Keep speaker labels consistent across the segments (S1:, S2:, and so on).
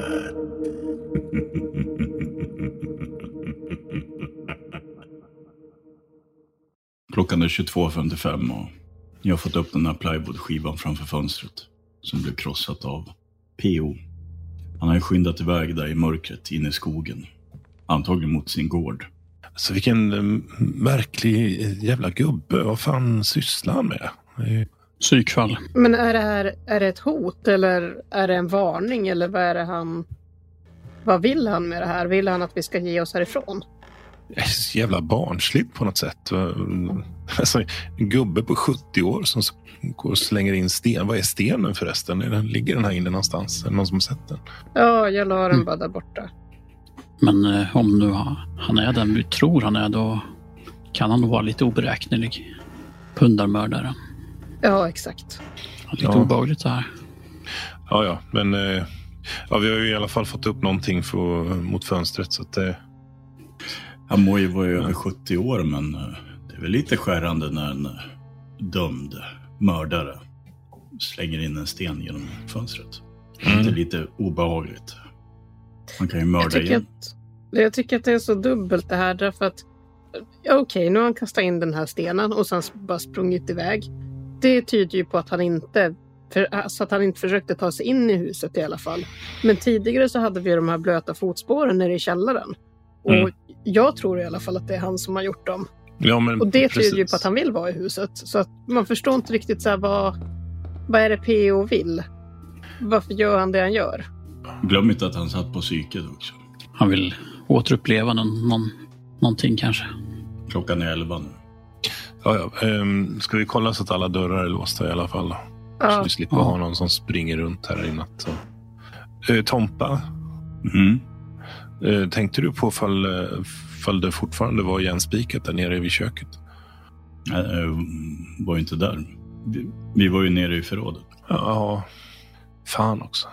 S1: Skräckblandat. Klockan är 22.55 och jag har fått upp den här plywoodskivan framför fönstret som blev krossat av PO. Han har ju skyndat iväg där i mörkret in i skogen. Antagligen mot sin gård.
S2: Alltså vilken eh, märklig eh, jävla gubbe. Vad fan sysslar han med? Eh,
S3: Psykfall.
S4: Men är det här är det ett hot eller är det en varning eller vad är det han... Vad vill han med det här? Vill han att vi ska ge oss härifrån?
S2: det är så jävla barnsligt på något sätt. Eh, Alltså, en gubbe på 70 år som s- går och slänger in sten. Vad är stenen förresten? Är den- Ligger den här inne någonstans? Är det någon som har sett den?
S4: Ja, jag la den bara där borta.
S3: Men eh, om nu ha- han är den vi tror han är, då kan han nog vara lite oberäknelig. Pundarmördare.
S4: Ja, exakt.
S3: Lite
S2: Ja.
S3: obehagligt det här.
S2: Ja, ja, men eh, ja, vi har ju i alla fall fått upp någonting för, mot fönstret. Så att, eh,
S1: Han må ju vara över 70 år men eh, det är väl lite skärande när en eh, dömd mördare slänger in en sten genom fönstret. Det är
S2: mm.
S1: lite obehagligt. Man kan ju
S4: Jag
S1: mörda
S4: tycker,
S1: igen.
S4: att, jag tycker att det är så dubbelt det här därför att... ja, Okej, nu har han kastat in den här stenen och sen s- bara sprungit iväg. Det tyder ju på att han inte... För, alltså att han inte försökte ta sig in i huset i alla fall. Men tidigare så hade vi de här blöta fotspåren nere i källaren. Och
S2: Mm.
S4: jag tror i alla fall att det är han som har gjort dem.
S2: ja, men
S4: Och det tyder ju
S2: precis.
S4: på att han vill vara i huset. Så att man förstår inte riktigt så här, vad, vad är det PO vill? Varför gör han det han gör?
S1: Glöm inte att han satt på psyket också.
S3: Han vill återuppleva någon, någon, någonting kanske.
S1: Klockan är 11 nu.
S2: Ja, ja. ehm, ska vi kolla så att alla dörrar är låsta i alla fall? då? Så
S4: Ja,
S2: vi slipper
S3: Ja.
S2: ha någon som springer runt här i natt. Så. Eh, Tompa,
S1: Mm.
S2: eh, tänkte du på fall, eh, fall det fortfarande var igenspikat där nere vid köket?
S1: Äh, var ju inte där. Vi, vi var ju nere i förrådet.
S2: Ja, fan också.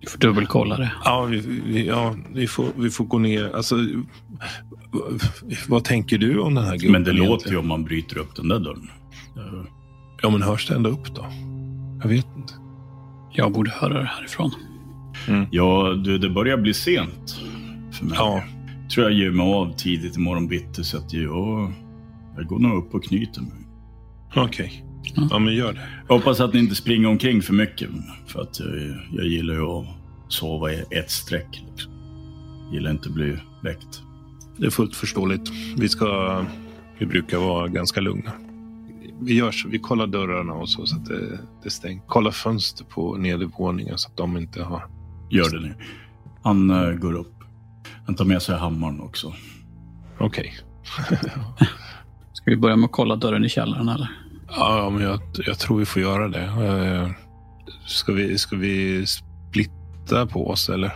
S3: Vi får dubbelkolla det.
S2: Ja, vi, vi, ja, vi, får, vi får gå ner. Alltså, v- vad tänker du om den här gubben?
S1: Men det låter
S2: egentligen?
S1: ju om man bryter upp den där dörren. Eh,
S2: Ja, men hörs det ända upp då? Jag vet inte.
S3: Jag borde höra det härifrån.
S1: Ja, du, det börjar bli sent för mig.
S2: Ja,
S1: tror jag ger mig av tidigt imorgon bitti så att jag, jag går nog upp och knyter mig.
S2: okej.
S3: Ja.
S2: Ja, men gör det.
S1: Jag hoppas att ni inte springer omkring för mycket för att jag, jag gillar ju att sova i ett streck. Liksom. Gillar inte att bli väckt.
S2: Det är fullt förståeligt. Vi ska... Vi brukar vara ganska lugna. Vi gör så. Vi kollar dörrarna och så, så att det, det är stängt. Kolla fönster på nedervåningen så att de inte har...
S1: Gör det nu. Han eh, går upp. Han tar med sig hammaren också.
S2: Okej.
S3: Ska vi börja med att kolla dörren i källaren eller?
S2: ja, men jag, jag tror vi får göra det. Eh, Ska vi, ska vi splitta på oss eller?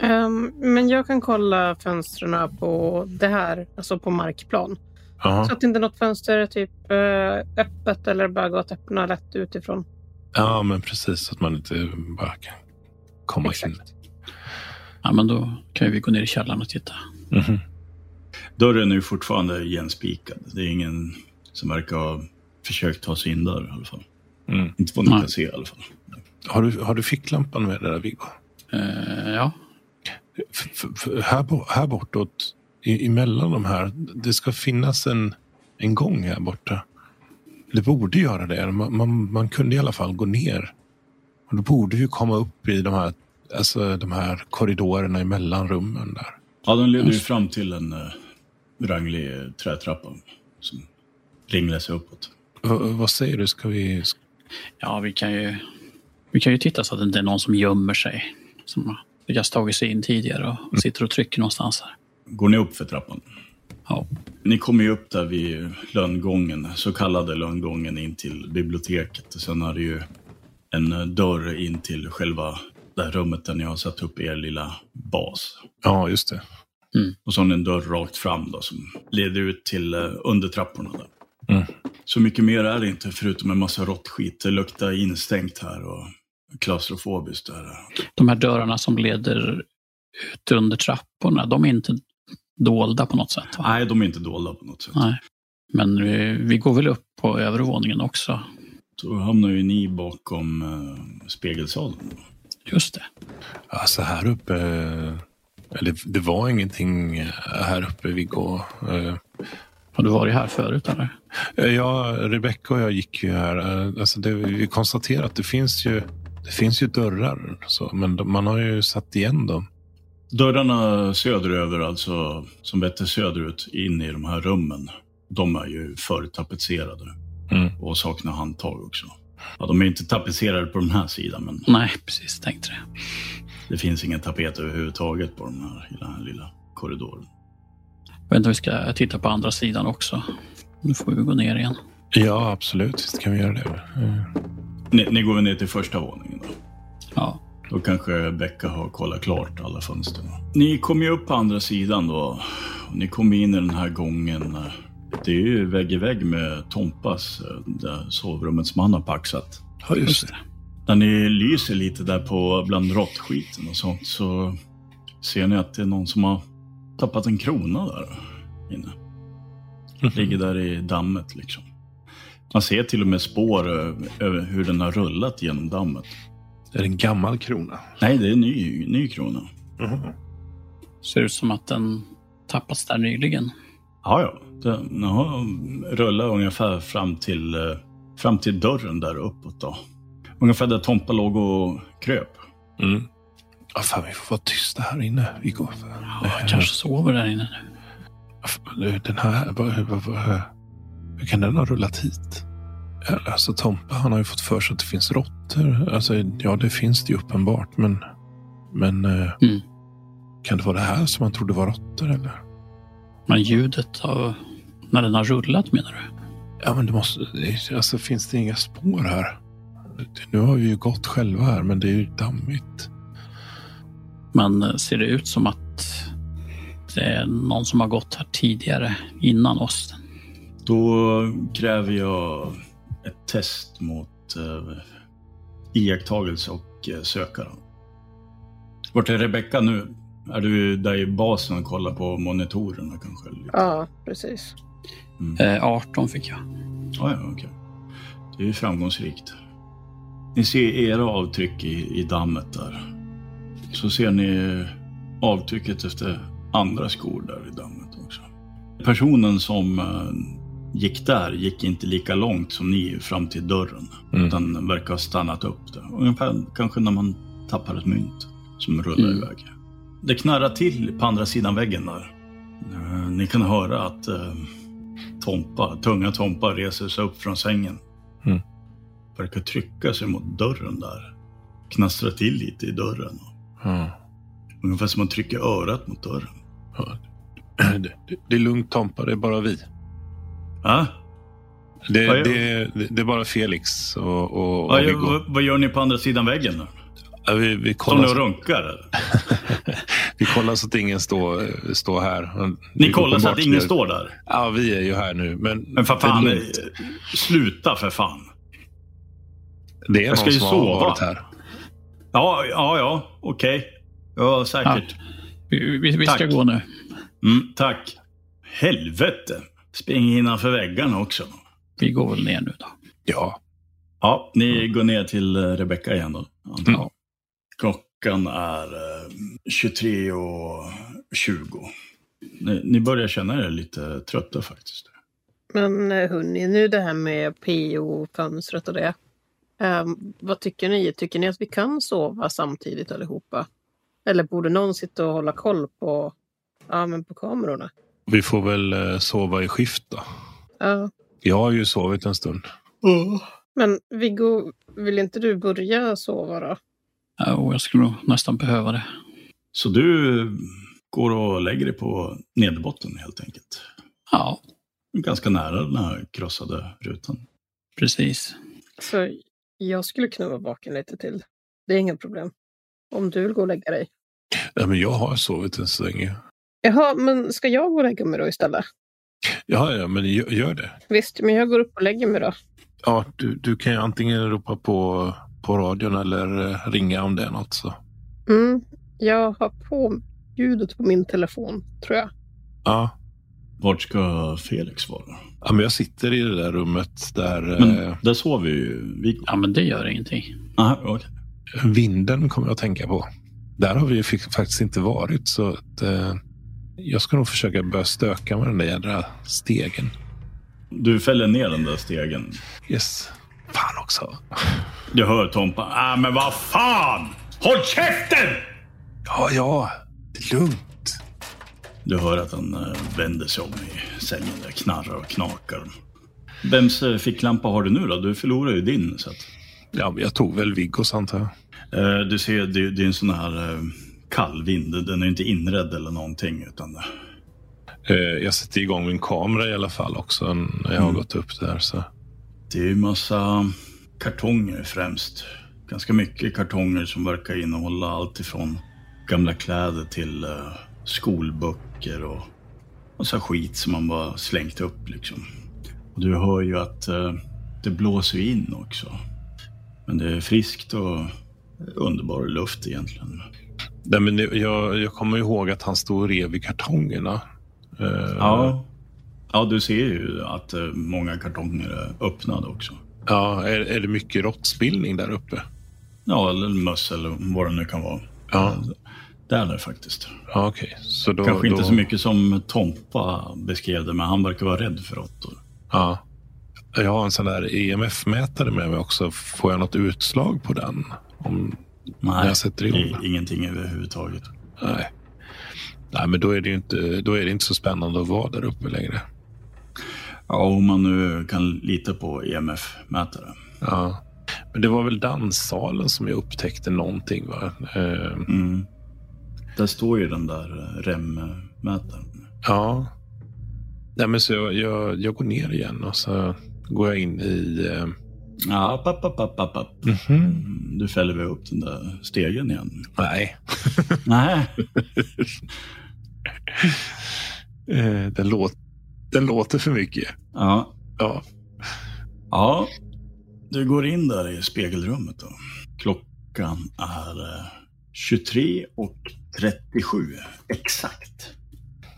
S4: ehm, men jag kan kolla fönstren på det här, alltså på markplan.
S2: Jaha.
S4: Så att inte något fönster är typ eh, öppet eller bara går att öppna lätt utifrån.
S2: Ja, men precis. Så att man inte bara kan komma in.
S4: Exakt.
S3: Ja, men då kan ju vi gå ner i källaren och titta.
S2: Mhm.
S1: Dörren är ju fortfarande igenspikad. Det är ingen som verkar ha försökt ta sig in där i alla fall.
S2: Mm.
S1: Inte vad ni
S3: Nej.
S1: kan se i alla fall.
S2: Har, du, har du ficklampan med dig där, Viggo?
S3: Eh, ja,
S2: F- f- f- här, bo- här bortåt, i, emellan de här, det ska finnas en, en gång här borta. Det borde göra det. Man, man, man kunde i alla fall gå ner. Och då borde vi komma upp i de här, alltså, de här korridorerna emellan rummen där.
S1: Ja, den leder ju fram till en eh, ranglig eh, trätrappa som ringlar sig uppåt.
S2: V- vad säger du? Ska vi...
S3: ja vi, kan ju, vi kan ju titta så att det inte är någon som gömmer sig. Som har lyckats tagit sig in tidigare och sitter och trycker någonstans här.
S1: Går ni upp för trappan?
S3: Ja.
S1: Ni kommer ju upp där vid lönngången, så kallade lönngången in till biblioteket. Och Sen är det ju en eh, dörr in till själva det här rummet där ni har satt upp er lilla bas.
S2: Ja, just det.
S1: Och så har ni en dörr rakt fram då, som leder ut till eh, undertrapporna. Där.
S2: Mm.
S1: Så mycket mer är det inte, förutom en massa råttskit. Det luktar instängt här och klaustrofobiskt där.
S3: De här dörrarna som leder ut under trapporna, de är inte dolda på något sätt. Va?
S1: Nej, de är inte dolda på något sätt.
S3: Nej. Men vi, vi går väl upp på övervåningen också.
S1: Då hamnar ju ni bakom eh, spegelsalen. då.
S3: Just det.
S2: Alltså här uppe... eh, Eller det var ingenting eh, här uppe Viggo. Eh,
S3: Har du varit här förut eller?
S2: Ja, Rebecca och jag gick ju här. Eh, Alltså det, vi konstaterar att det finns ju, det finns ju dörrar. Så, men de, man har ju satt igen dem.
S1: Dörrarna söderöver, alltså som vetter söderut in i de här rummen, de är ju förtapetserade
S2: Mm.
S1: och saknar handtag också. Ja, de är inte tapetserade på den här sidan, men
S3: Nej, precis. Tänkte det.
S1: det finns ingen tapet överhuvudtaget på den här, i den här lilla korridoren.
S3: Jag vet inte om vi ska titta på andra sidan också. Nu får vi gå ner igen.
S2: Ja, absolut. Visst kan vi göra det. Eh,
S1: Ni, ni går väl ner till första våningen då?
S3: Ja,
S1: Då kanske Becka har kollat klart alla fönster. Ni kom ju upp på andra sidan då. Och ni kom in i den här gången. Det är ju vägg i vägg med Tompas, eh, där sovrummet som han har paxat.
S2: Ja,
S3: just det.
S1: När ni lyser lite där på bland råttskiten och sånt så ser ni att det är någon som har tappat en krona där inne. Ligger där i dammet liksom. Man ser till och med spår eh, över hur den har rullat genom dammet.
S2: Är det en gammal krona?
S1: Nej, det är en ny, ny krona.
S3: Ser ut som att den tappats där nyligen.
S1: Ja, ja. Den har rullat ungefär fram till, eh, fram till dörren där uppåt. Då. Ungefär där Tompa låg och kröp.
S2: Mm. Ja, fan, vi får vara tysta här inne. Vi går.
S3: Ja, jag kanske sover där inne nu.
S2: Den här... vad- vad- vad- Hur kan den ha rullat hit? Ja, Alltså Tompa, han har ju fått för sig att det finns råttor. Alltså, ja, det finns det ju uppenbart, men... Men... eh,
S3: Mm.
S2: Kan det vara det här som han trodde var råttor, eller?
S3: Men ljudet av när den har rullat menar du?
S2: Ja, men det måste... Alltså, finns det inga spår här? Nu har vi ju gått själva här, men det är ju dammigt.
S3: Men eh, ser det ut som att det är någon som har gått här tidigare innan oss?
S1: Då kräver jag ett test mot eh, iakttagelse och eh, sökare. Vart är Rebecka nu? Är du där i basen och kollar på monitorerna kanske?
S4: Ja, precis.
S1: Mm.
S3: Eh, 18 fick jag.
S1: Ja, ja, okej. Det är ju framgångsrikt. Ni ser era avtryck i, i dammet där. Så ser ni avtrycket efter andra skor där i dammet också. Personen som eh, gick där gick inte lika långt som ni fram till dörren.
S2: Mm.
S1: Utan verkar ha stannat upp där. Ungefär kanske när man tappar ett mynt som rullar
S3: Mm.
S1: iväg. Det knarrar till på andra sidan väggen där. Eh, Ni kan höra att eh, Tompa, tunga Tompa reser sig upp från sängen.
S2: Mm.
S1: Verkar trycka sig mot dörren där. Knastrar till lite i dörren.
S2: Ja.
S1: Ungefär som att trycka örat mot dörren.
S2: Det, det- det är lugnt Tompa, det är bara vi.
S1: Ah?
S2: Det,
S1: Vad gör-
S2: det, det, det är bara Felix och, och, och
S1: Vad,
S2: Viggo.
S1: gör, vad gör ni på andra sidan väggen? Då?
S2: Ja, vi, vi,
S1: Står ni
S2: kollar
S1: och
S2: så,
S1: runkar? Eller?
S2: vi kollar så att ingen står, står här. Men det
S1: Ni
S2: är
S1: kollar så att
S2: uppenbart vi
S1: ingen
S2: är-
S1: står där?
S2: Ja, vi är ju här nu. Men,
S1: Men för
S2: det är
S1: fan, eh,
S2: lugnt.
S1: sluta för fan.
S2: det är
S1: jag ska
S2: någon
S1: ju
S2: som
S1: sova.
S2: har varit här.
S1: Ja, ja, ja, okej. Ja, säkert.
S3: Vi, vi, vi ska
S1: Tack.
S3: gå nu.
S1: Mm, tack. Helvete. Spring innanför väggarna också.
S3: Vi går väl ner nu då.
S2: Ja,
S1: Ja, ni går ner till eh, Rebecca igen då. antar jag.
S2: Mm.
S1: Klockan är eh, 23.20. Ni, ni börjar känna er lite trötta faktiskt.
S4: Men eh, hörni, nu det här med PO-fönstret och det. Ehm, vad tycker ni? Tycker ni att vi kan sova samtidigt allihopa? Eller borde någon sitta och hålla koll på, ja, men på kamerorna?
S2: vi får väl eh, sova i skift då.
S4: Ja.
S2: Jag har ju sovit en stund.
S4: Men Viggo, vill inte du börja sova då?
S3: Ja, Eh, och jag skulle nog nästan behöva det.
S1: Så du går och lägger dig på nederbotten helt enkelt.
S3: Ja,
S1: Ganska nära den här krossade rutan.
S3: precis.
S4: Så jag skulle kunna vara vaken lite till. Det är inga problem. Om du vill gå och lägga dig.
S2: Ja, men jag har sovit en stund. ju.
S4: Jaha, men ska jag gå och lägga mig då istället?
S2: Ja, ja, men gö- gör det.
S4: Visst, men jag går upp och lägger mig då.
S2: Ja, du, du kan ju antingen ropa på på radion eller eh, ringa om det är något. Så.
S4: Mm. Jag har på ljudet på min telefon, tror jag.
S2: Ja.
S1: Vart ska Felix vara?
S2: ja, men jag sitter i det där rummet där
S1: Men-
S2: eh,
S1: Där sov vi ju Viggo.
S3: Ja, men det gör ingenting.
S1: Aha, okej.
S2: vinden kommer jag att tänka på. Där har vi ju fick- faktiskt inte varit så att, eh, jag ska nog försöka börja stöka med den där jädra stegen.
S1: Du fäller ner den där stegen.
S2: Yes. Fan också.
S1: Du hör Tompa. Ah, men vad fan! Håll käften!
S2: Ja, ja. Det är lugnt.
S1: Du hör att han eh, vänder sig om i sängen där, knarrar och knakar. Vems eh, ficklampa har du nu då? Du förlorar ju din. Så att,
S2: Ja, men jag tog väl Viggos antar
S1: eh,
S2: jag.
S1: du ser, det, det är en sån här eh, kall vind. Den är ju inte inredd eller någonting. Utan, eh,
S2: Eh, jag sätter igång min kamera i alla fall också när jag har gått upp där. Så.
S1: det är ju massa kartonger främst. Ganska mycket kartonger som verkar innehålla allt ifrån gamla kläder till eh, skolböcker och massa skit som man bara slängt upp liksom. Och du hör ju att eh, det blåser ju in också. Men det är friskt och underbar luft egentligen.
S2: Nej, men det- jag, jag kommer ihåg att han stod och rev i kartongerna. Eh,
S1: Ja. Ja, du ser ju att eh, många kartonger är öppnade också.
S2: ja är, är det mycket råttspillning där uppe?
S1: Ja, eller möss eller vad det nu kan vara.
S2: Ja,
S1: Det är det faktiskt.
S2: ja okej. Så då,
S1: Kanske inte
S2: då,
S1: så mycket som Tompa beskrev det, men han verkar vara rädd för råttor.
S2: Ja. Jag har en sån där EMF-mätare med mig också. Får jag något utslag på den? Om, när jag sätter igång
S1: i-
S2: den?
S1: ingenting överhuvudtaget.
S2: Nej. Nej, men då är, det ju inte, då är det inte så spännande att vara där uppe längre.
S1: Ja, om man nu kan lita på E EMF-mätare.
S2: Ja. Men det var väl danssalen som jag upptäckte någonting. Va? Eh,
S1: Mm. Där står ju den där eh, REM-mätaren.
S2: ja. Nej, men så jag, jag, jag går ner igen och så går jag in i... Eh,
S1: Ja, papp, papp, papp, papp, papp.
S2: mhm.
S1: Mm, Du fäller väl upp den där stegen igen?
S2: Nej,
S1: Nej.
S2: eh, den, låt, den låter för mycket.
S1: Ja.
S2: Ja.
S1: ja. Du går in där i spegelrummet då. Klockan är eh, 23 och 37. Exakt.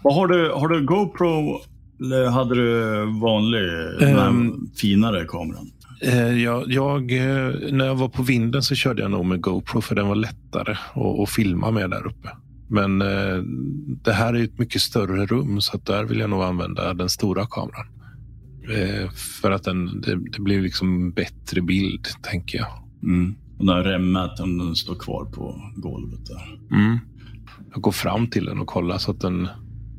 S1: Vad har du? Har du GoPro eller hade du vanlig, den här
S2: Ehm.
S1: finare kameran?
S2: Eh, jag, jag, eh, när jag var på vinden så körde jag nog med GoPro för den var lättare att, att filma med där uppe. Men eh, det här är ju ett mycket större rum så att där vill jag nog använda den stora kameran. Eh, för att den, det, det blir liksom bättre bild, tänker jag.
S1: Mm. Och den här remmätaren den står kvar på golvet där.
S2: Jag går fram till den och kollar så att den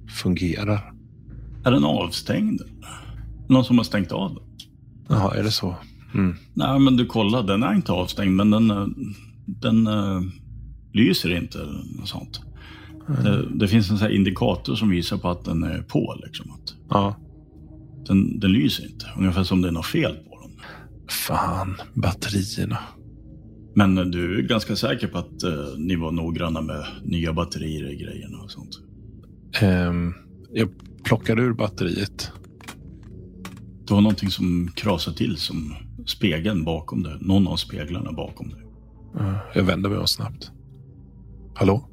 S2: fungerar.
S1: Är den avstängd? Någon som har stängt av den?
S2: Jaha, är det så? Mm.
S1: Nej, men du kollar. Den är inte avstängd, men den, eh, den eh, lyser inte eller något sånt. Det, det finns en sån här indikator som visar på att den är på. Liksom, att
S2: Ja.
S1: den, den lyser inte, ungefär som det är något fel på den.
S2: Fan, batterierna.
S1: Men eh, du är ganska säker på att eh, ni var noggranna med nya batterier i grejerna och sånt.
S2: Ehm, jag plockar ur batteriet.
S1: Det var någonting som krasade till som spegeln bakom dig. Någon av speglarna bakom dig.
S2: Ja, Jag vänder mig om snabbt. Hallå?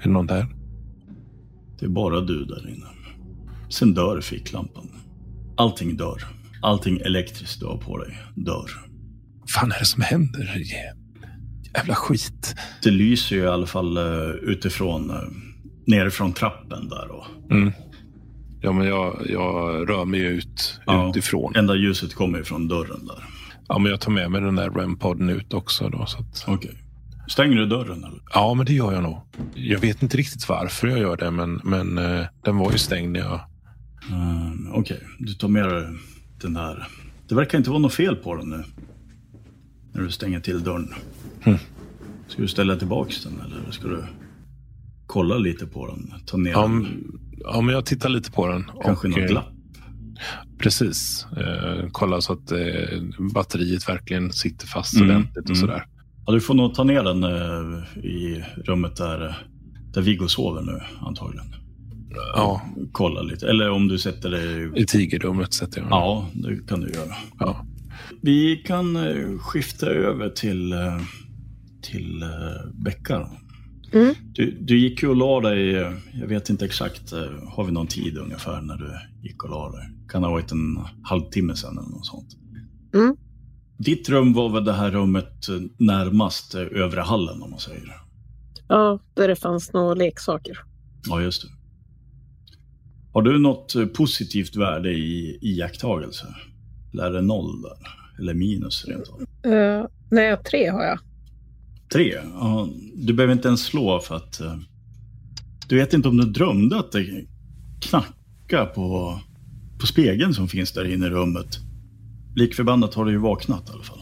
S2: Är det någon där?
S1: Det är bara du där inne. Sen dör ficklampan. Allting dör. Allting elektriskt du har på dig dör.
S2: fan är det som händer? Jä- Jävla skit.
S1: Det lyser ju i alla fall eh, utifrån, eh, nerifrån trappen där. Och
S2: Ja, men jag, jag rör mig ut
S1: Ja.
S2: utifrån.
S1: enda ljuset kommer ju från dörren där.
S2: Ja, men jag tar med mig den där rem ut också. Då, så att,
S1: Okej. Stänger du dörren eller?
S2: ja, men det gör jag nog. Jag vet inte riktigt varför jag gör det, men, men eh, den var ju stängd när jag...
S1: Mm, Okej, du tar med dig den här. Det verkar inte vara något fel på den nu. När du stänger till dörren.
S2: Hm.
S1: Ska du ställa tillbaks den eller ska du kolla lite på den? Ta ner
S2: Ja,
S1: den?
S2: men, ja, men jag tittar lite på den.
S1: Kanske något
S2: eh,
S1: glapp?
S2: Precis. Eh, kolla så att eh, batteriet verkligen sitter fast
S1: Mm,
S2: ordentligt och
S1: mm.
S2: sådär.
S1: Ja, du får nog ta ner den eh, i rummet där, eh, där Viggo sover nu antagligen.
S2: Ja,
S1: Kolla lite. Eller om du sätter dig...
S2: i tigerrummet sätter jag den.
S1: Ja, det kan du göra.
S2: Ja.
S1: Vi kan eh, skifta över till, eh, till eh, Becka. då.
S4: Mm.
S1: Du, du gick ju och la dig, eh, jag vet inte exakt, eh, har vi någon tid ungefär när du gick och la dig? Kan ha varit en halvtimme sedan eller något sånt.
S4: Mm.
S1: Ditt rum var väl det här rummet eh, närmast eh, övre hallen om man säger.
S4: Ja, där det fanns några leksaker.
S1: Ja, just det. Har du något eh, positivt värde i iakttagelse? Eller är det noll där? Eller minus rent av?
S4: Uh, nej, tre har jag.
S1: Tre? Ja, du behöver inte ens slå för att... eh, Du vet inte om du drömde att det knackade på, på spegeln som finns där inne i rummet. Likförbannat har du ju vaknat i alla fall.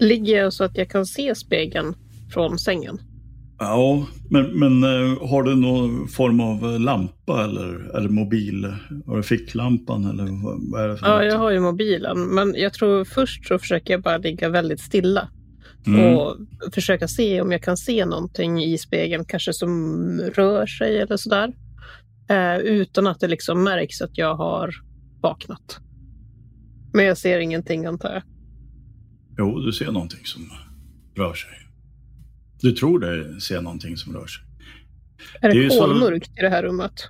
S4: Ligger jag så att jag kan se spegeln från sängen?
S1: Ja, men, men eh, har du någon form av eh, lampa eller, eller mobil? Har du ficklampan eller vad vad är det för
S4: Ja,
S1: något?
S4: jag har ju mobilen. Men jag tror först så försöker jag bara ligga väldigt stilla
S1: Mm.
S4: och försöka se om jag kan se någonting i spegeln, kanske som rör sig eller sådär. Eh, utan att det liksom märks att jag har vaknat. Men jag ser ingenting antar jag.
S1: Jo, du ser någonting som rör sig. Du tror dig se någonting som rör sig.
S4: Är det,
S1: Det är ju så-
S4: kolmörkt i det här rummet?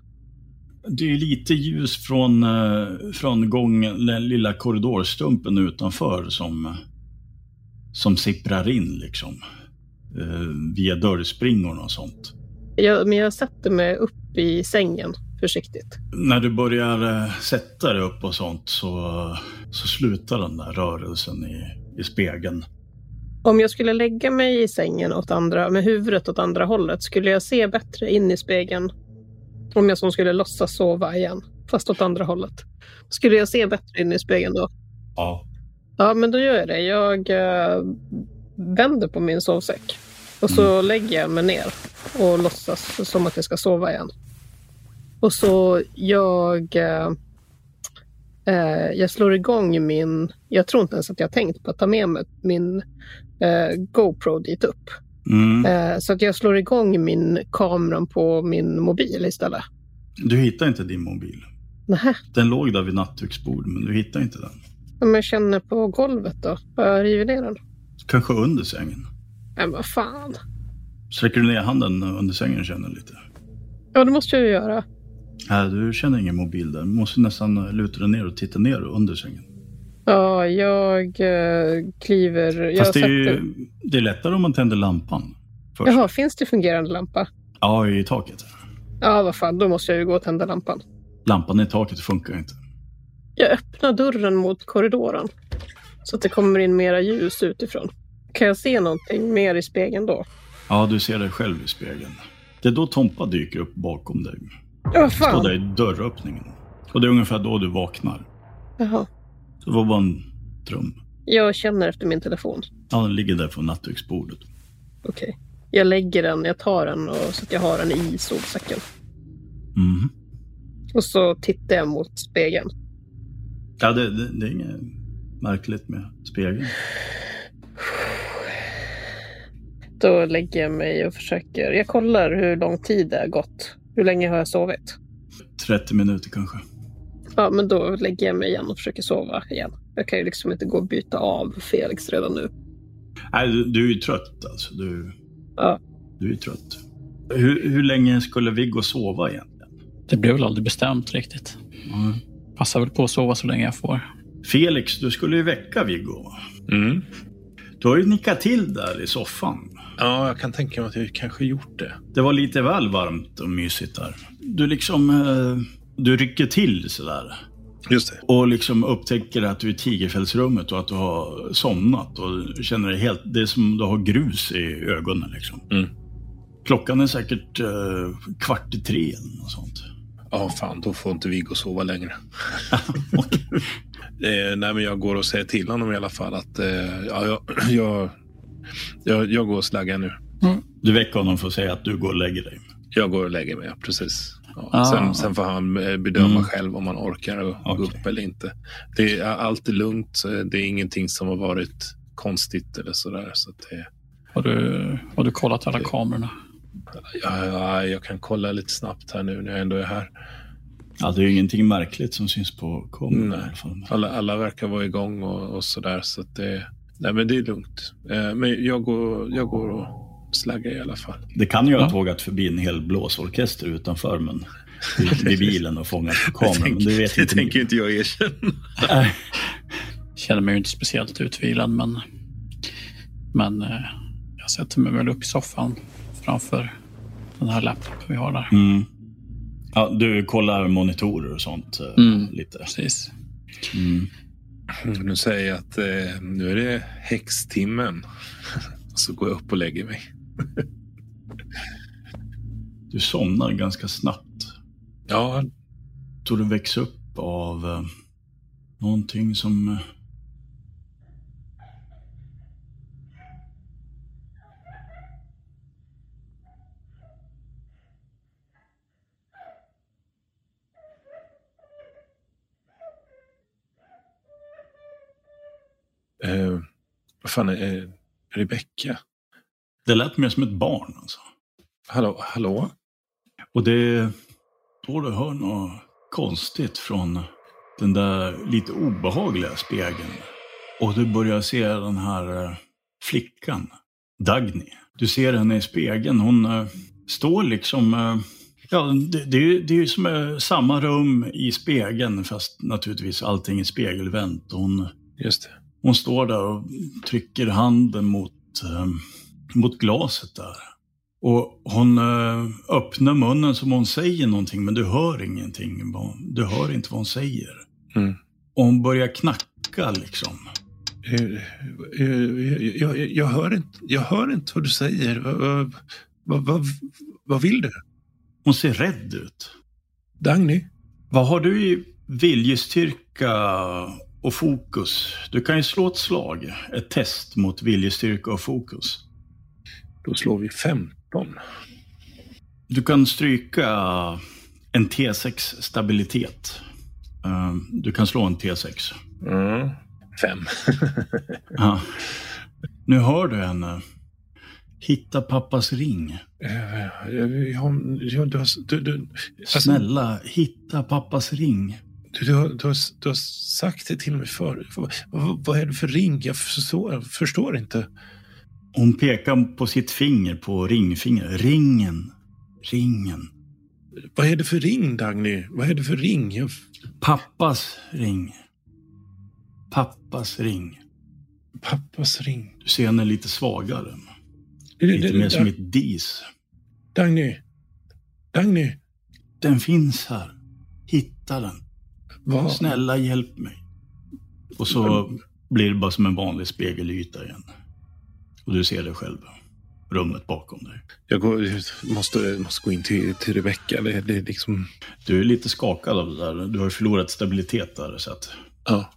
S1: Det är lite ljus från, eh, från gången, den lilla korridorstumpen utanför som, som sipprar in liksom. Eh, via dörrspringorna och sånt.
S4: Jag, men jag sätter mig upp i sängen försiktigt.
S1: När du börjar eh, sätta dig upp och sånt så, så slutar den där rörelsen i, i spegeln.
S4: Om jag skulle lägga mig i sängen åt andra, med huvudet åt andra hållet, skulle jag se bättre in i spegeln? Om jag som skulle låtsas sova igen, fast åt andra hållet. Skulle jag se bättre in i spegeln då?
S1: Ja.
S4: Ja, men då gör jag det. Jag eh, vänder på min sovsäck. Och så lägger jag mig ner och låtsas som att jag ska sova igen. Och så jag... eh, eh, jag slår igång min... Jag tror inte ens att jag har tänkt på att ta med mig min eh, GoPro dit upp.
S1: Mm.
S4: Eh, så att jag slår igång min kameran på min mobil istället.
S1: Du hittar inte din mobil.
S4: Nähä,
S1: Den låg där vid nattduksbordet, men du hittar inte den.
S4: om jag känner på golvet då? Har jag rivit ner den?
S1: Kanske under sängen.
S4: Nej, men vad fan.
S1: Sträcker du ner handen under sängen och känner lite?
S4: Ja, det måste jag ju göra.
S1: Nej, du känner ingen mobil där. Du måste nästan luta dig ner och titta ner under sängen.
S4: Ja, jag eh, kliver... Jag
S1: Fast det är,
S4: sätter-
S1: ju, det är lättare om man tänder lampan först.
S4: Jaha, finns det fungerande lampa?
S1: Ja, i taket.
S4: Ja, vad fan, då måste jag ju gå och tända lampan.
S1: Lampan i taket funkar inte.
S4: Jag öppnar dörren mot korridoren så att det kommer in mera ljus utifrån. Kan jag se någonting mer i spegeln då?
S1: Ja, du ser dig själv i spegeln. Det är då Tompa dyker upp bakom dig.
S4: Ja, vad
S1: Står där
S4: fan!
S1: i dörröppningen. Och det är ungefär då du vaknar.
S4: Jaha.
S1: Så det var bara en dröm.
S4: Jag känner efter min telefon.
S1: Ja, den ligger där på nattduksbordet.
S4: Okej. Jag lägger den, jag tar den och, så att jag har den i sovsäcken.
S1: Mhm.
S4: Och så tittar jag mot spegeln.
S1: Ja, det, det, det är inget märkligt med spegeln.
S4: Då lägger jag mig och försöker... Jag kollar hur lång tid det har gått. Hur länge har jag sovit?
S1: 30 minuter kanske.
S4: Ja, men då lägger jag mig igen och försöker sova igen. Jag kan ju liksom inte gå och byta av Felix redan nu.
S1: Nej, du, du är ju trött alltså. Du,
S4: Ja.
S1: du är ju trött. Hur, hur länge skulle Viggo sova egentligen?
S3: Det blev väl aldrig bestämt riktigt. Passar väl på att sova så länge jag får.
S1: Felix, du skulle ju väcka Viggo. va?
S2: Mm.
S1: Du har ju nickat till där i soffan.
S2: Ja, jag kan tänka mig att jag kanske gjort det.
S1: Det var lite väl varmt och mysigt där. Du liksom... eh, Du rycker till sådär.
S2: Just det.
S1: Och liksom upptäcker att du är i tigerfällsrummet och att du har somnat och känner dig helt... Det är som du har grus i ögonen liksom.
S2: Mm.
S1: Klockan är säkert eh, kvart i tre eller något sånt.
S2: Ja, fan, då får inte Viggo sova längre.
S1: Okej.
S2: Eh, nej, men jag går och säger till honom i alla fall att eh, ja, jag, jag, jag, jag går och slaggar nu.
S1: Du väcker honom för att säga att du går och lägger dig.
S2: Jag går och lägger mig, ja, precis. Ja.
S3: Ah.
S2: Sen, sen får han eh, bedöma
S1: Mm.
S2: själv om han orkar och gå
S1: Okej.
S2: upp eller inte. Det är, allt är lugnt. eh, Det är ingenting som har varit konstigt eller sådär. Så att det,
S3: Har du, har du kollat alla kamerorna?
S2: ja, ja, jag kan kolla lite snabbt här nu när jag ändå är här.
S1: Ja, det är ju ingenting märkligt som syns på kameran
S2: Nej.
S1: i alla fall.
S2: Alla, alla verkar vara igång och, och sådär. Så att det, nej, men det är lugnt. Eh, men jag går, jag går och slaggar i alla fall.
S1: Det kan ju ha
S3: Ja.
S1: tågat förbi en hel blåsorkester utanför, men i bilen och fångat på
S2: Det
S1: kameran.
S2: tänker-
S1: Men det vet
S2: det
S1: inte
S2: tänker
S1: ni.
S2: inte jag erkänna.
S1: Nej.
S3: Känner mig ju inte speciellt utvilad, men, men eh, jag sätter mig väl upp i soffan framför den här laptopen vi har där.
S1: Mm. Ja, du kollar monitorer och sånt eh,
S3: Mm.
S1: lite.
S3: Precis.
S1: Mm.
S2: Nu säger jag att eh, nu är det häxtimmen. Så går jag upp och lägger mig.
S1: Du somnar ganska snabbt.
S2: Ja,
S1: Tror du väcks upp av eh, någonting som... Eh,
S2: eh, vad fan är eh, Rebecka?
S1: det lät mer som ett barn alltså.
S2: Hallå? hallå?
S1: Och det då du hör något konstigt från den där lite obehagliga spegeln. Och du börjar se den här eh, flickan, Dagny. Du ser henne i spegeln. Hon eh, står liksom... eh, Ja, det, det, är ju- det är ju som eh, samma rum i spegeln, fast naturligtvis allting är spegelvänt. Och Hon,
S2: Just det.
S1: hon står där och trycker handen mot, eh, mot glaset där. Och hon eh, öppnar munnen som hon säger någonting, men du hör ingenting. vad- Du hör inte vad hon säger.
S2: Mm.
S1: Och hon börjar knacka liksom.
S2: Eh, eh, Jag, jag, jag, hör inte, jag hör inte vad du säger. Vad, vad, vad, vad, vad vill du?
S1: Hon ser rädd ut.
S2: Dagny?
S1: Vad har du i viljestyrka och fokus? Du kan ju slå ett slag, ett test mot viljestyrka och fokus.
S2: Då slår vi 15.
S1: Du kan stryka en T6 stabilitet. Eh, Du kan slå en T6.
S2: Mm. Fem.
S1: Ja. Nu hör du henne. Hitta pappas ring.
S2: Eh, jag- jag- jag- du, har, du, du, alltså,
S1: Snälla, hitta pappas ring.
S2: du, du, har, du, har, du har sagt det till mig förut. Vad, vad, vad är det för ring? Jag förstår, jag förstår inte.
S1: Hon pekar på sitt finger, på ringfingret. Ringen. Ringen.
S2: Vad är det för ring, Dagny? Vad är det för ring? Jag,
S1: Pappas ring. Pappas ring.
S2: pappas ring.
S1: Du ser henne lite svagare.
S2: Det- det-
S1: Lite
S2: det-
S1: mer som ett dis.
S2: Dagny. Dagny.
S1: Den finns här. Hitta den.
S2: Vad?
S1: Snälla hjälp mig. Och så blir det bara som en vanlig spegelyta igen. Och du ser dig själv. Rummet bakom dig.
S2: Jag, går, jag måste, måste gå in till, till Rebecka. Det, det är liksom...
S1: Du är lite skakad av det där. Du har ju förlorat stabilitet där. Så att
S2: Ja.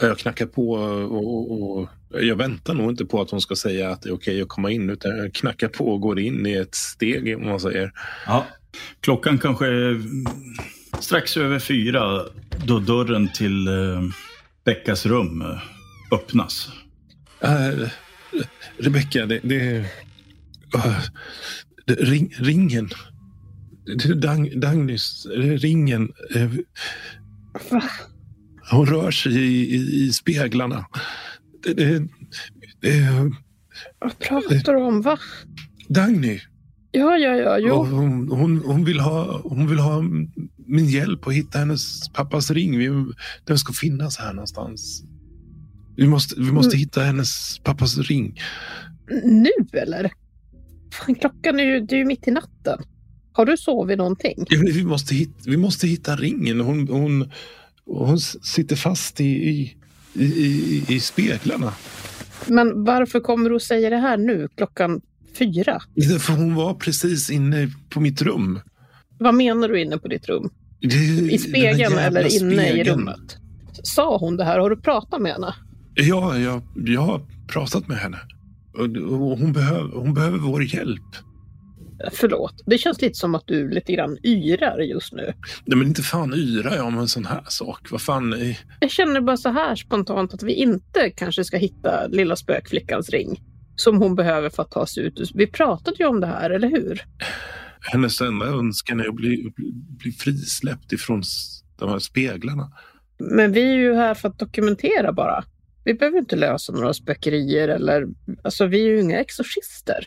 S2: Jag knackar på och, och, och jag väntar nog inte på att hon ska säga att det är okej att komma in, utan jag knackar på och går in i ett steg, om man säger.
S1: Ja. Klockan kanske är mm, strax över fyra då dörren till eh, Beckas rum eh, öppnas.
S2: Äh, Rebecka, det... det äh, det- ring, ringen. Det är Dang, Dagnys, eh, ringen. eh,
S4: Va?
S2: Hon rör sig i, i, i speglarna. Det, det, det,
S4: Vad pratar du om? Va?
S2: Dagny,
S4: Ja, ja, ja.
S2: Och
S4: Jo.
S2: hon, hon, hon, vill ha, hon vill ha min hjälp att hitta hennes pappas ring. Vi, den ska finnas här någonstans. Vi måste, vi måste
S4: Mm.
S2: hitta hennes pappas ring.
S4: Nu eller? Fan, klockan är ju, det är ju mitt i natten. Har du sovit någonting?
S2: Ja, men Vi måste, hit, vi måste hitta ringen. Hon, hon, hon s- sitter fast i, i, i, i, i speglarna.
S4: Men varför kommer du och säger det här nu klockan fyra?
S2: För hon var precis inne på mitt rum.
S4: Vad menar du inne på ditt rum?
S2: Det-
S4: I
S2: den
S4: spegeln
S2: jävla
S4: eller inne i
S2: spegeln.
S4: rummet? Sa hon det här? Har du pratat med henne?
S2: Ja, jag, jag har pratat med henne. Och, och hon, behöver, hon behöver vår hjälp.
S4: Förlåt, det känns lite som att du lite grann yrar just nu.
S2: Nej, men inte fan yrar jag om en sån här sak. Vad fan, eh,
S4: Jag känner bara så här spontant att vi inte kanske ska hitta lilla spökflickans ring som hon behöver för att ta sig ut. Vi pratade ju om det här, eller hur?
S2: Hennes enda önskan är att bli, bli, bli frisläppt ifrån s- de här speglarna.
S4: Men vi är ju här för att dokumentera bara. Vi behöver inte lösa några spökerier eller... Alltså, vi är ju inga exorcister.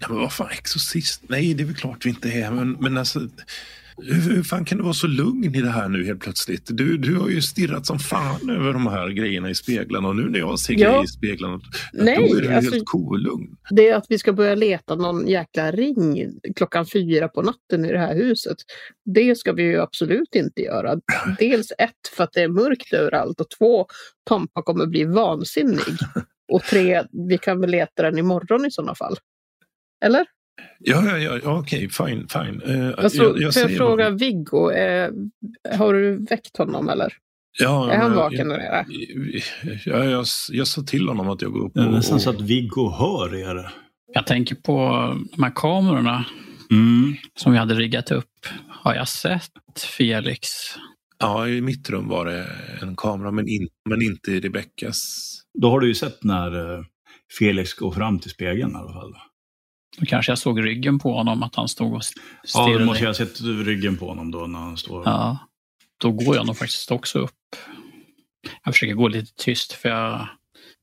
S2: Ja, men vad fan, exorcist? Nej, det är väl klart vi inte är. Men, men alltså, hur, hur fan kan du vara så lugn i det här nu helt plötsligt? Du, du har ju stirrat som fan över de här grejerna i speglarna och nu när jag ser
S4: Ja.
S2: grejer i speglarna,
S4: Nej,
S2: då är du
S4: alltså-
S2: helt kolugn.
S4: Det är att vi ska börja leta någon jäkla ring klockan fyra på natten i det här huset. Det ska vi ju absolut inte göra. Dels ett, för att det är mörkt överallt och två, Tompa kommer bli vansinnig. Och tre, vi kan väl leta den imorgon i sådana fall. Eller?
S2: Ja, ja, ja, ja okej, fine, fine. Eh,
S4: Alltså,
S2: jag, jag
S4: får jag
S2: säger
S4: fråga
S2: bara-
S4: Viggo, eh, har du väckt honom eller?
S2: Ja,
S4: är han
S2: jag-
S4: vaken där nere?
S2: Jag, jag, jag, jag sa till honom att jag går upp
S1: Det är
S2: och...
S1: nästan
S2: och
S1: så att Viggo hör er.
S3: Jag tänker på de här kamerorna
S1: Mm.
S3: som vi hade riggat upp. Har jag sett Felix?
S2: ja, I mitt rum var det en kamera, men, in, men inte i Rebeckas.
S1: Då har du ju sett när eh, Felix går fram till spegeln i alla fall.
S3: Då kanske jag såg ryggen på honom, att han stod och st-
S1: Ja,
S3: stirrade.
S1: då måste jag ha sett ryggen på honom då när han står...
S3: Ja, då går jag nog faktiskt också upp. Jag försöker gå lite tyst för jag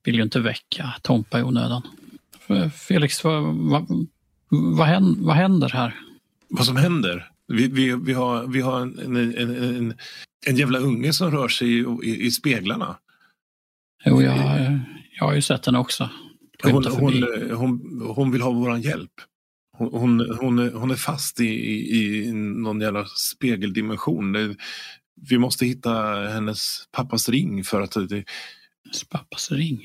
S3: vill ju inte väcka Tompa i onödan. F- Felix, vad, vad, vad, händer, vad händer här?
S2: vad som händer. Vi, vi, vi har, vi har en, en, en, en, en jävla unge som rör sig i, i, i speglarna.
S3: Jo, jag, jag har ju sett henne också.
S2: Hon,
S3: Skymta förbi.
S2: hon, hon, hon vill ha vår hjälp. Hon, hon, hon, är- hon är fast i, i, i någon jävla spegeldimension. Det- Vi måste hitta hennes pappas ring för att... Det,
S3: Hennes pappas ring.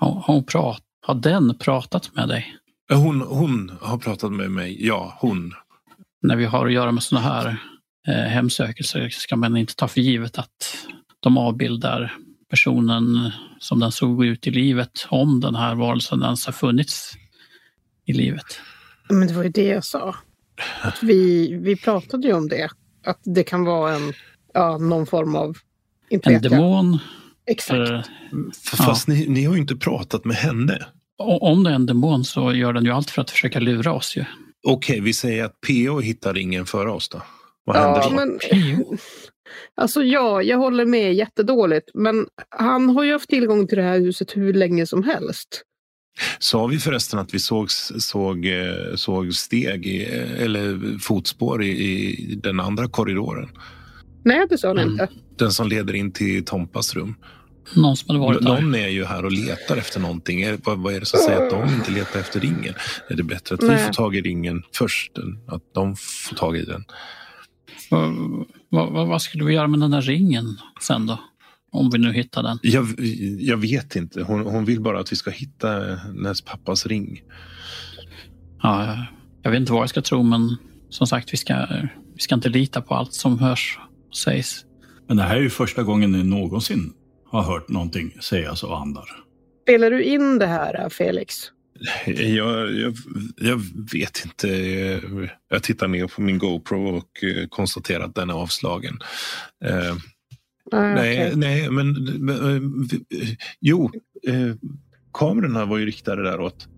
S3: Har, har, hon prat, har den pratat med dig?
S2: hon, hon har pratat med mig. Ja, hon.
S3: När vi har att göra med sådana här eh, hemsökelser ska man inte ta för givet att de avbildar personen som den såg ut i livet, om den här varelsen ens har funnits i livet.
S4: Men det var ju det jag sa. Att vi, vi pratade ju om det. Att det kan vara en, ja, någon form av... Inte
S3: En
S4: vet jag.
S3: demon,
S4: Exakt.
S2: Eh,
S3: för,
S2: F- Fast ni, ni har ju inte pratat med henne.
S3: o- om det är en demon så gör den ju allt för att försöka lura oss ju.
S2: Okej, vi säger att PO hittar ringen före oss då. Vad händer
S4: Ja,
S2: då?
S4: men, alltså ja, jag håller med jättedåligt. Men han har ju haft tillgång till det här huset hur länge som helst.
S2: Sa vi förresten att vi såg, såg, eh, såg steg i, eller fotspår i, i den andra korridoren?
S4: Nej, det sa han
S3: Mm.
S4: inte.
S2: Den som leder in till Tompas rum.
S3: Någon som hade varit där.
S2: Någon är ju här och letar efter någonting. Är, vad, vad är det som säger att de inte letar efter ringen? Är det bättre att vi
S4: Nej.
S2: får tag i ringen först än att de får tag i den?
S3: Vad, vad, vad- vad skulle vi göra med den där ringen sen då? Om vi nu hittar den.
S2: Jag, jag vet inte. Hon, hon vill bara att vi ska hitta hennes pappas ring.
S3: Ja, jag- jag vet inte vad jag ska tro, men som sagt, vi ska, vi ska inte lita på allt som hörs och sägs.
S1: Men det här är ju första gången ni någonsin har hört någonting sägas av andar.
S4: Spelar du in det här, Felix?
S2: Jag, jag, jag vet inte. Jag tittar ner på min GoPro och eh, konstaterar att den är avslagen. Eh,
S4: Ah,
S2: nej,
S4: okej.
S2: nej, men... men, eh, vi- Jo, eh, kamerorna var ju riktade däråt.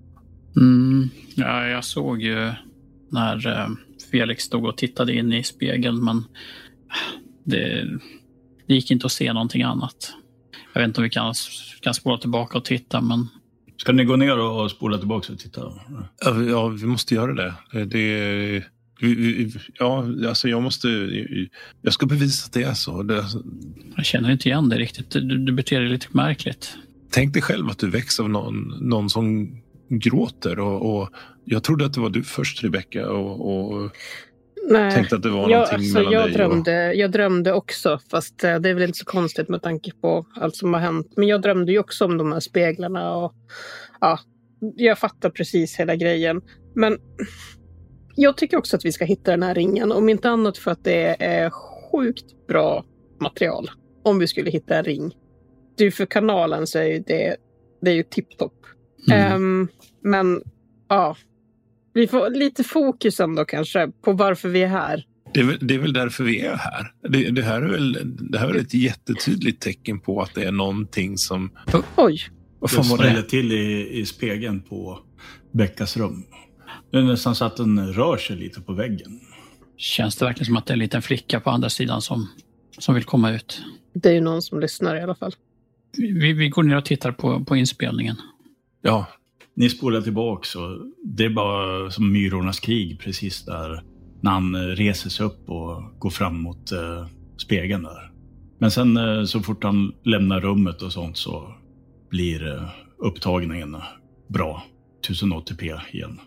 S3: Mm, ja, jag såg ju när eh, Felix stod och tittade in i spegeln, men det, det gick inte att se någonting annat. Jag vet inte om vi kan, kan spåra tillbaka och titta, men
S1: Ska ni gå ner och spola tillbaka och titta?
S2: Ja, vi- Ja, vi måste göra det. Eh, det vi- vi- ja, alltså jag måste... Jag ska bevisa att det är så. Det,
S3: jag känner inte igen det riktigt. Du, du beter dig lite märkligt.
S2: tänk dig själv att du väcks av någon, någon som gråter. Och, och jag trodde att det var du först, Rebecka. Och, och,
S4: nej.
S2: tänkte att det var
S4: Eh, Ja,
S2: någonting
S4: alltså,
S2: mellan
S4: jag
S2: dig
S4: drömde, jag drömde också, fast eh, det är väl inte så konstigt med tanke på allt som har hänt. Men jag drömde ju också om de här speglarna och ja, jag fattar precis hela grejen. Men jag tycker också att vi ska hitta den här ringen, om inte annat för att det är sjukt bra material. Om vi skulle hitta en ring. Du, för kanalen så är ju det, det är ju tipptopp.
S3: Mm.
S4: Ehm, men ja, vi får lite fokus ändå kanske på varför vi är här.
S2: och det, är väl, det är väl därför vi är här. Det, det här är väl det här är ett jättetydligt tecken på att det är någonting som...
S4: Oj,
S2: Vad
S1: Jag
S2: fan var det?
S1: smäller till i, i spegeln på Beckas rum. Det är nästan så att den rör sig lite på väggen.
S3: Känns det verkligen som att det är en liten flicka på andra sidan som, som vill komma ut?
S4: Det är ju någon som lyssnar i alla fall.
S3: Vi, vi går ner och tittar på, på inspelningen.
S2: Ja,
S1: Ni spolar tillbaks och det är bara som myrornas krig precis där. När han eh, reser sig upp och går fram mot eh, spegeln där. Men sen eh, så fort han lämnar rummet och sånt så blir eh, upptagningen bra. 1080p igen.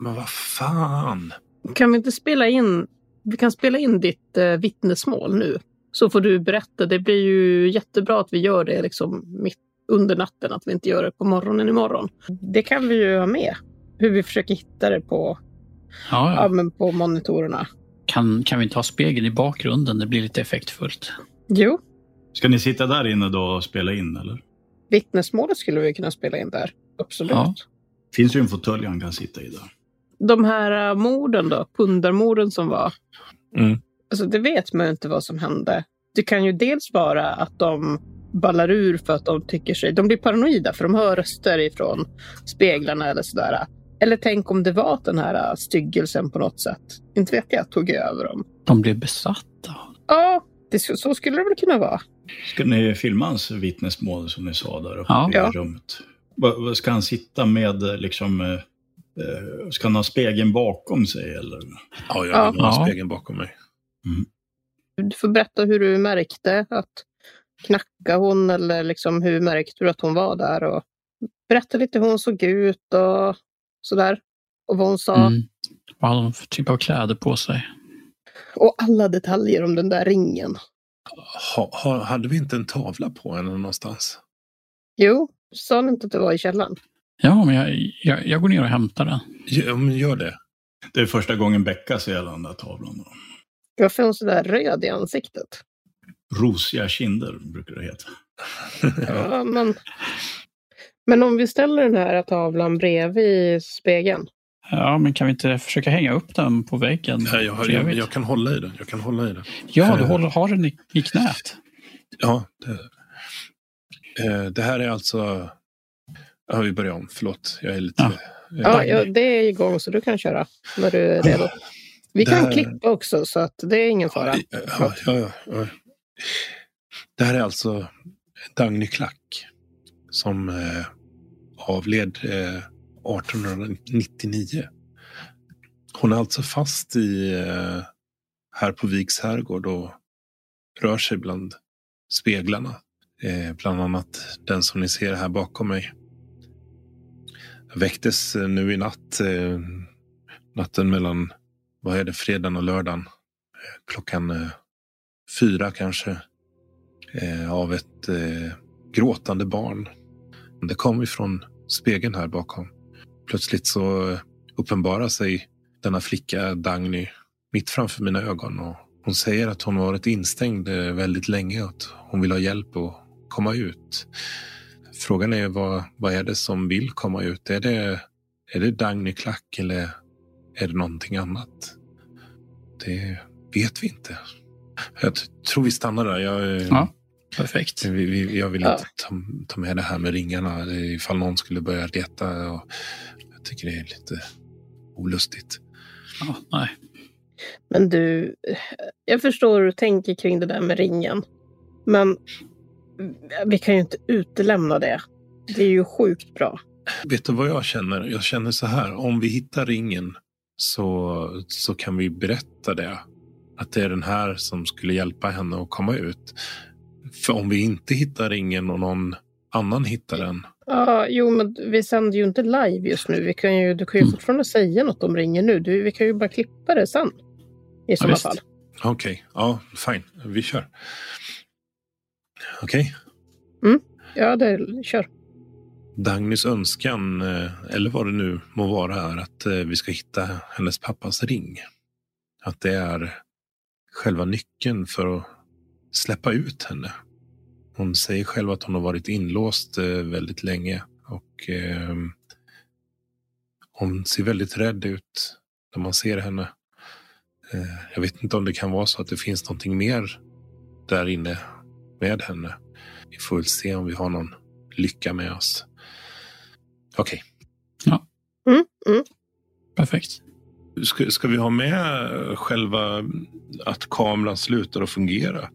S2: men vad fan.
S4: Kan vi inte spela in? Vi kan spela in ditt eh, vittnesmål nu. Så får du berätta. Det blir ju jättebra att vi gör det liksom mitt under natten, att vi inte gör det på morgonen imorgon. Det kan vi ju ha med. Hur vi försöker hitta det på,
S3: Ja,
S4: ja.
S3: ja.
S4: men på monitorerna.
S3: Kan, kan vi inte ha spegeln i bakgrunden? Det blir lite effektfullt.
S4: Jo,
S1: Ska ni sitta där inne då och spela in eller?
S4: vittnesmålet skulle vi kunna spela in där. Absolut.
S3: Ja.
S1: Finns ju en fåtölj han kan sitta i där.
S4: De här eh, morden då, pundarmorden som var.
S2: Mm.
S4: Alltså det vet man ju inte vad som hände. Det kan ju dels vara att de ballar ur för att de tycker sig... De blir paranoida för de hör röster ifrån speglarna eller sådär. Eller tänk om det var att den här äh, styggelsen på något sätt, inte vet jag, tog över dem.
S3: De blev besatta.
S4: Ja, det, så skulle det väl kunna vara.
S1: Ska ni filma hans vittnesmål som ni sa där uppe
S3: Ja.
S1: i
S4: Ja.
S1: rummet? Va- va- Ska han sitta med eh, liksom... eh, eh, Ska han ha spegeln bakom sig eller?
S2: Ja, jag
S4: Ja.
S2: har ja.
S3: Ja.
S2: spegeln bakom mig.
S4: Du får berätta hur du märkte att knacka hon eller liksom hur märkte du att hon var där och berätta lite hur hon såg ut och sådär. Och vad hon sa.
S3: Mm. Vad hade de för typ av kläder på sig?
S4: Och alla detaljer om den där ringen.
S2: Ha, ha, hade vi inte en tavla på henne någonstans?
S4: Jo, sa ni inte att det var i källaren?
S3: Ja, men jag, jag, jag går ner och hämtar den.
S2: Ja, men gör det.
S1: Det är första gången Becka ser hela den där tavlan. Då.
S4: Varför är hon sådär röd i ansiktet?
S1: Rosiga kinder brukar det heta.
S2: Ja.
S4: Ja, men... men om vi ställer den här tavlan bredvid spegeln.
S3: Ja, men kan vi inte försöka hänga upp den på väggen?
S2: Nej, jag, har- jag,
S3: Trevligt.
S2: jag kan hålla i den. Jag kan hålla i den.
S3: Ja, du håller, har den i, i knät.
S2: Ja, det, eh, det här är alltså... Ja, vi börjar om. Förlåt, jag är lite...
S3: Ja.
S4: Ja, ja, det är igång så du kan köra när du är redo. Vi
S2: Det
S4: kan
S2: här-
S4: klippa också så att det är ingen fara.
S2: Ja, ja, ja, ja. Det här är alltså Dagny Klack som eh, avled eh, 1899. Hon är alltså fast i eh, här på Viks herrgård och rör sig bland speglarna. Eh, bland annat den som ni ser här bakom mig. Väcktes eh, nu i natt, eh, natten mellan, vad är det, fredagen och lördagen klockan eh, fyra kanske eh, av ett eh, gråtande barn. Det kom ifrån spegeln här bakom. Plötsligt så eh, uppenbarar sig denna flicka Dagny mitt framför mina ögon och hon säger att hon har varit instängd eh, väldigt länge och att hon vill ha hjälp att komma ut. Frågan är vad, vad är det som vill komma ut? Är det, är det Dagny Klack eller är det någonting annat? Det vet vi inte. Jag t- tror vi stannar där. Jag, eh,
S3: Ja. Perfekt.
S2: vi, vi, jag vill
S4: Ja.
S2: inte ta, ta med det här med ringarna eh, ifall någon skulle börja leta. Och jag tycker det är lite olustigt.
S3: Ja, nej.
S4: Men du, jag förstår hur du tänker kring det där med ringen. Men vi kan ju inte utelämna det. Det är ju sjukt bra.
S2: Vet du vad jag känner? Jag känner så här. Om vi hittar ringen så, så kan vi berätta det. Att det är den här som skulle hjälpa henne att komma ut. För om vi inte hittar ringen och någon annan hittar den.
S4: Ja, jo, men vi sänder ju inte live just nu. Vi kan ju, du kan ju
S3: Mm.
S4: fortfarande säga något om ringen nu. Du, vi kan ju bara klippa det sen. I sådana
S3: visst.
S4: fall.
S2: Okej, ja, fine. Vi kör. Okej.
S4: Ja, det kör.
S2: Dagnys önskan, eh, eller vad det nu må vara, är att eh, vi ska hitta hennes pappas ring. Att det är själva nyckeln för att släppa ut henne. Hon säger själv att hon har varit inlåst eh, väldigt länge och eh, hon ser väldigt rädd ut när man ser henne. Eh, jag vet inte om det kan vara så att det finns någonting mer där inne med henne. Vi får väl se om vi har någon lycka med oss. Okej.
S3: Ja.
S4: Mm, mm.
S3: perfekt.
S2: Ska, ska vi ha med själva att kameran slutar att fungera?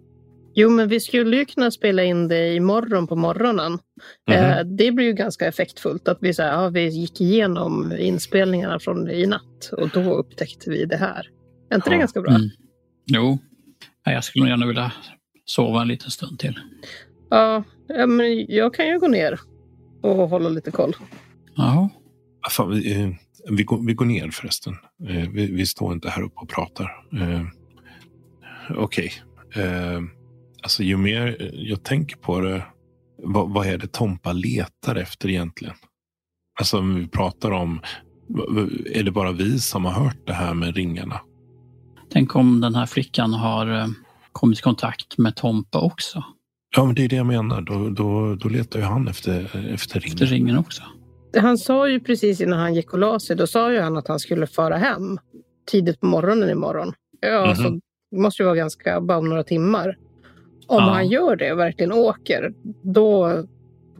S4: Jo, men vi skulle ju kunna spela in det imorgon på morgonen.
S2: Mhm.
S4: Eh, det blir ju ganska effektfullt att vi, så här, ja, vi gick igenom inspelningarna från i natt och då upptäckte vi det här. Är inte det
S2: Ja.
S4: ganska bra?
S3: Mm. Jo, Nej, jag skulle nog gärna vilja sova en liten stund till.
S4: Ja, ja, men jag kan ju gå ner och hålla lite koll.
S3: Jaha.
S2: Ah, Fan, vi, eh, vi, går, vi går ner förresten. Eh, vi, vi står inte här uppe och pratar. Eh, Okej. Eh, alltså ju mer jag tänker på det. Vad, vad är det Tompa letar efter egentligen? Alltså om vi pratar om. Är det bara vi som har hört det här med ringarna?
S3: Tänk om den här flickan har eh, kommit i kontakt med Tompa också.
S2: Ja, men det är det jag menar. Då, då, då letar ju han efter, efter ringen.
S3: Efter ringen också.
S4: Han sa ju precis innan han gick och la sig, då sa ju han att han skulle föra hem tidigt på morgonen imorgon. Ja,
S2: Mhm.
S4: så det måste ju vara ganska, bara om några timmar. Om
S3: Ja.
S4: han gör det och verkligen åker, då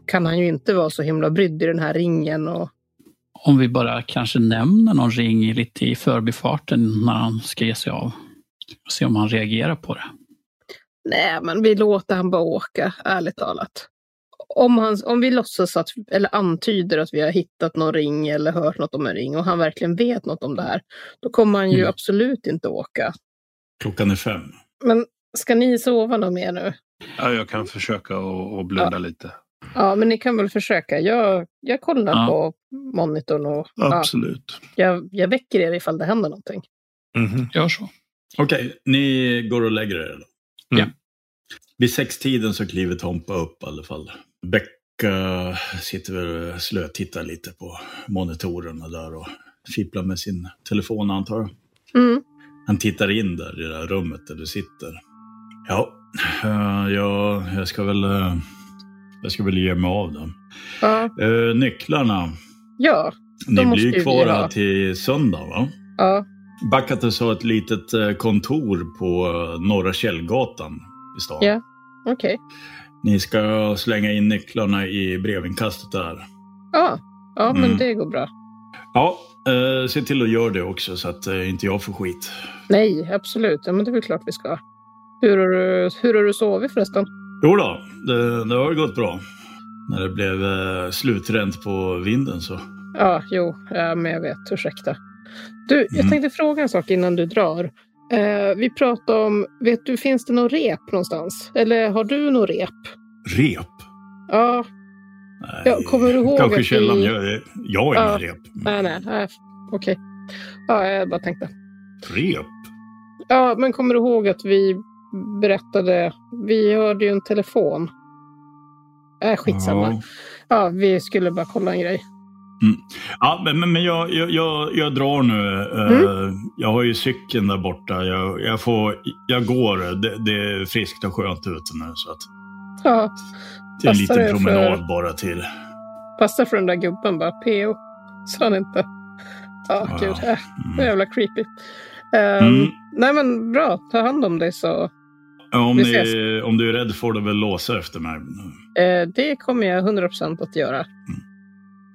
S4: kan han ju inte vara så himla brydd i den här ringen. Och,
S3: Om vi bara kanske nämner någon ring i- lite i förbifarten när han ska ge sig av. Se om han reagerar på det.
S4: nej, men vi låter han bara åka, ärligt talat. Om, han, om vi låtsas att, eller antyder att vi har hittat någon ring eller hört något om en ring och han verkligen vet något om det här, då kommer han ju
S3: Mm.
S4: absolut inte åka.
S1: Klockan är fem.
S4: Men ska ni sova något mer nu?
S2: Ja, jag kan försöka och, och blunda lite.
S4: Ja, men ni kan väl försöka. Jag, jag kollar
S3: Ja.
S4: på monitorn och ja,
S2: Absolut.
S4: jag, jag väcker er ifall det händer någonting.
S2: Mhm.
S3: Gör så.
S1: Okej, ni går och lägger er då?
S2: Mm.
S1: Ja. Vid sextiden så kliver Tompa upp i alla fall. Becka sitter väl och slötittar lite på monitorerna där och fipplar med sin telefon antar jag.
S4: Mm.
S1: Han tittar in där i det där rummet där du sitter. Ja, eh, jag, jag ska väl... eh, Jag ska väl ge mig av då.
S4: Ja,
S1: Eh, nycklarna,
S4: ja,
S1: ni
S4: måste
S1: blir
S4: vi
S1: ju kvar
S4: ha.
S1: här till söndag va?
S4: ja.
S1: Backatus har ett litet eh, kontor på eh, Norra Källgatan i stan.
S4: Ja. okej.
S1: Ni ska slänga in nycklarna i brevinkastet där.
S4: Ja, ja men
S1: Mm.
S4: det går bra.
S1: Ja, eh, se till att göra det också så att eh, inte jag får skit.
S4: Nej, absolut. Ja, men det är väl klart vi ska. Hur har du, hur har du sovit förresten?
S1: Jo då, det, det har gått bra. När det blev eh, slutrent på vinden så.
S4: Ja, jo, ja, men jag vet. Ursäkta. Du, jag
S1: Mm.
S4: tänkte fråga en sak innan du drar. Eh, vi pratade om, vet du, finns det någon rep någonstans? Eller har du någon rep?
S1: Rep?
S4: Ja,
S1: Nej,
S4: Ja, kommer du ihåg
S1: Kanske
S4: att
S1: källan.
S4: vi-
S1: Jag, jag har inga
S4: Ja.
S1: rep. Mm.
S4: Nej, nej, nej. okej. Ja, jag bara tänkte.
S1: Rep?
S4: Ja, men kommer du ihåg att vi berättade, vi hörde ju en telefon. Äh, skitsamma. Ja. vi skulle bara kolla en grej.
S1: Ja, men, men, men jag, jag, jag, jag drar nu. Eh,
S4: Mm.
S1: Jag har ju cykeln där borta. Jag, jag, får, jag går. Det, det är friskt och skönt ute nu. Så att
S4: Ja,
S1: det är en
S4: Passar det
S1: liten
S4: för-
S1: promenad bara till.
S4: passa för den där gubben bara, PO. Sa han inte. Ja,
S1: Ja,
S4: gud. Äh, det är
S1: Mm.
S4: jävla creepy. Ehm,
S1: Mm.
S4: Nej, men bra. Ta hand om dig så.
S1: Om,
S4: vi
S1: ni, om du är rädd får du väl låsa efter mig.
S4: Eh, det kommer jag 100% att göra.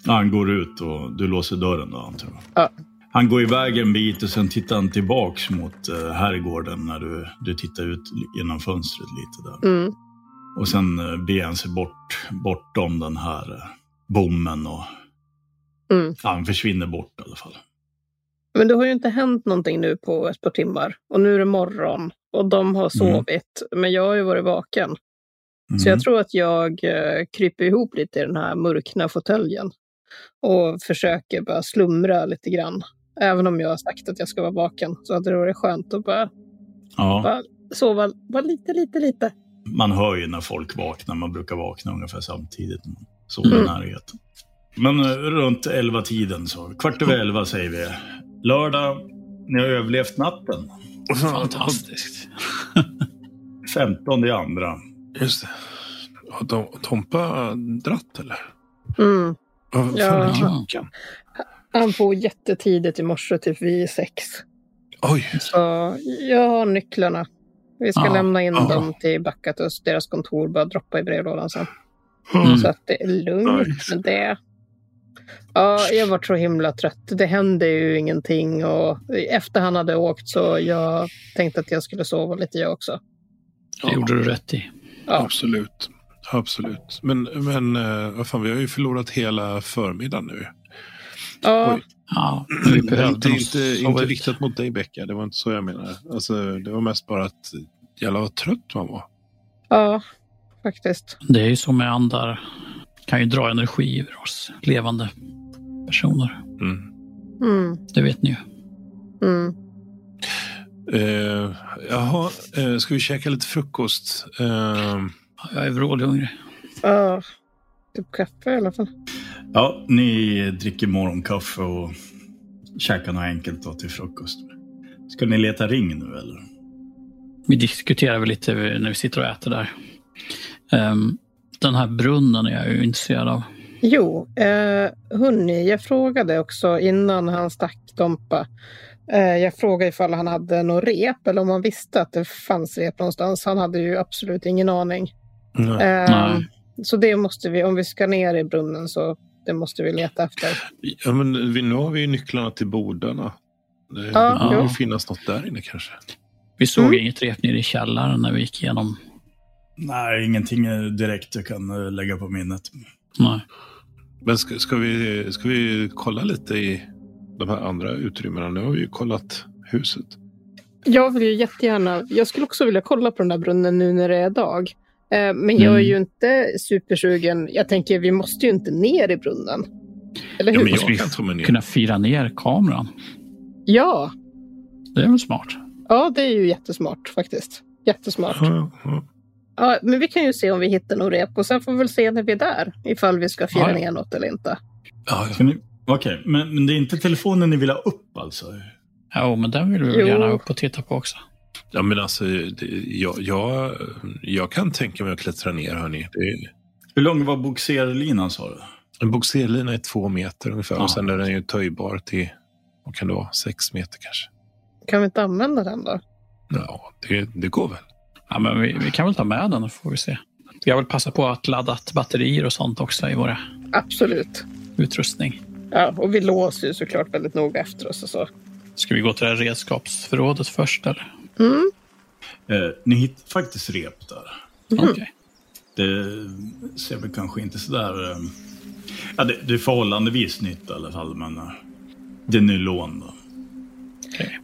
S1: Han går ut och du låser dörren då antar jag.
S4: Ja.
S1: Han går iväg en bit och sen tittar han tillbaks mot eh, herrgården när du, du tittar ut genom fönstret lite där.
S4: Mm.
S1: Och sen eh, beger han sig bort, bortom den här eh, bommen och
S4: Mm.
S1: ja, han försvinner bort i alla fall.
S4: Men det har ju inte hänt någonting nu på ett par timmar. Och nu är det morgon. Och de har sovit. Men jag har ju varit vaken.
S1: Mm.
S4: Så jag tror att jag eh, kryper ihop lite i den här mörkna fåtöljen. Och försöker bara slumra lite grann. Även om jag har sagt att jag ska vara vaken så hade det varit skönt att bara
S1: ja,
S4: Va? sova bara lite, lite, lite.
S1: man hör ju när folk vaknar, man brukar vakna ungefär samtidigt. när man Sover i
S4: Mm.
S1: närheten. Men eh, runt elva tiden så, kvart
S4: Mm.
S1: över elva säger vi. Lördag, ni har överlevt natten.
S3: Fantastiskt.
S1: 15 i andra.
S2: Just det. Har Tom- Tompa dratt eller?
S4: Mm.
S2: Vad fan
S4: Ja.
S2: är klockan?
S4: Han får jättetidigt i morse, typ vid sex.
S2: Oj,
S4: Så jag har nycklarna. Vi ska
S3: Ja,
S4: lämna in
S2: ja.
S4: dem till Backatus, deras kontor, bara droppa i brevlådan sen.
S3: Mm.
S4: Så att det är lugnt
S2: Nice.
S4: med det. Ja, jag var så himla trött. Det hände ju ingenting och efter han hade åkt så jag tänkte att jag skulle sova lite jag också.
S3: Det gjorde du rätt i.
S4: Ja.
S2: Absolut. Absolut. Men, men eh, vad fan, vi har ju förlorat hela förmiddagen nu.
S4: Ja,
S2: Oj.
S3: Ja, vi
S2: Det
S3: behövde
S2: är
S3: nog
S2: inte,
S3: sova
S2: inte
S3: ut.
S2: riktat mot dig, Becka. Det var inte så jag menade. Alltså, det var mest bara att jävlar vad trött man var.
S4: ja faktiskt.
S3: Det är ju som med andar. kan ju dra energi ur oss levande personer.
S2: Mm.
S4: Mm,
S3: Det vet ni ju.
S4: mm.
S2: Eh, jaha, eh, ska vi käka lite frukost? Eh,
S3: Jag är vrålhungrig.
S4: Ja, typ kaffe i alla fall.
S1: Ja, ni dricker morgonkaffe och käkar något enkelt då till frukost. Ska ni leta ring nu eller?
S3: Vi diskuterar väl lite när vi sitter och äter där. Ehm, Den här brunnen är jag ju intresserad av.
S4: Jo, eh, hörni, jag frågade också innan han stack Dompa. Eh, jag frågade ifall han hade något rep eller om han visste att det fanns rep någonstans. Han hade ju absolut ingen aning.
S2: nej.
S4: Eh,
S3: Nej.
S4: Så det måste vi, om vi ska ner i brunnen så det måste vi leta efter.
S2: ja, men vi, nu har vi ju nycklarna till bodarna. Det
S4: Ja,
S2: borde ju
S3: jo.
S2: finnas något där inne kanske.
S3: Vi såg
S4: Mm.
S3: inget rep nere i källaren när vi gick igenom.
S1: Nej, ingenting eh, direkt jag kan eh, lägga på minnet.
S3: Nej.
S2: Men ska, ska, vi, ska vi kolla lite i de här andra utrymmena? Nu har vi ju kollat huset.
S4: Jag vill ju jättegärna, jag skulle också vilja kolla på den där brunnen nu när det är dag. Eh, men jag är
S3: Mm.
S4: ju inte supersugen. Jag tänker, vi måste ju inte ner i brunnen. Eller
S2: Ja,
S4: hur?
S2: men
S4: Ja,
S2: jag kan ta mig ner.
S3: Kunna fira ner kameran.
S4: ja.
S3: Det är väl smart?
S4: det är ju jättesmart faktiskt. Jättesmart.
S2: Ja, ja.
S4: Ja, men vi kan ju se om vi hittar något rep och sen får vi väl se när vi är där ifall vi ska fira
S3: Ja, ja.
S4: ner något eller inte.
S2: Ja, ja.
S1: Ska ni... Okej, men, men det är inte telefonen ni vill ha upp alltså?
S3: Jo, men den vill vi väl
S4: Jo.
S3: gärna upp och titta på också.
S2: Ja, men alltså, det, jag, jag, jag kan tänka mig att klättra ner, hörni. Det är-
S1: Hur lång var bogserlinan sa du?
S2: En bogserlina är två meter ungefär
S1: Ja.
S2: och sen är den ju töjbar till, vad kan det vara, sex meter kanske?
S4: Kan vi inte använda den då?
S2: Ja, det, det går väl.
S3: Ja, men vi, vi kan väl ta med den, får vi se. Jag vill passa på att ladda ett batterier och sånt också i våra
S4: Absolut.
S3: utrustning.
S4: Ja, och vi låser ju såklart väldigt noga efter oss och så.
S3: Ska vi gå till det här redskapsförrådet först? Eller?
S4: Mm.
S1: Eh, ni hittade faktiskt rep där.
S3: Okej.
S1: Det ser väl kanske inte sådär... Eh, ja, det, det är förhållandevis nytt i alla fall, men eh, det är nylon. Då.
S3: okej.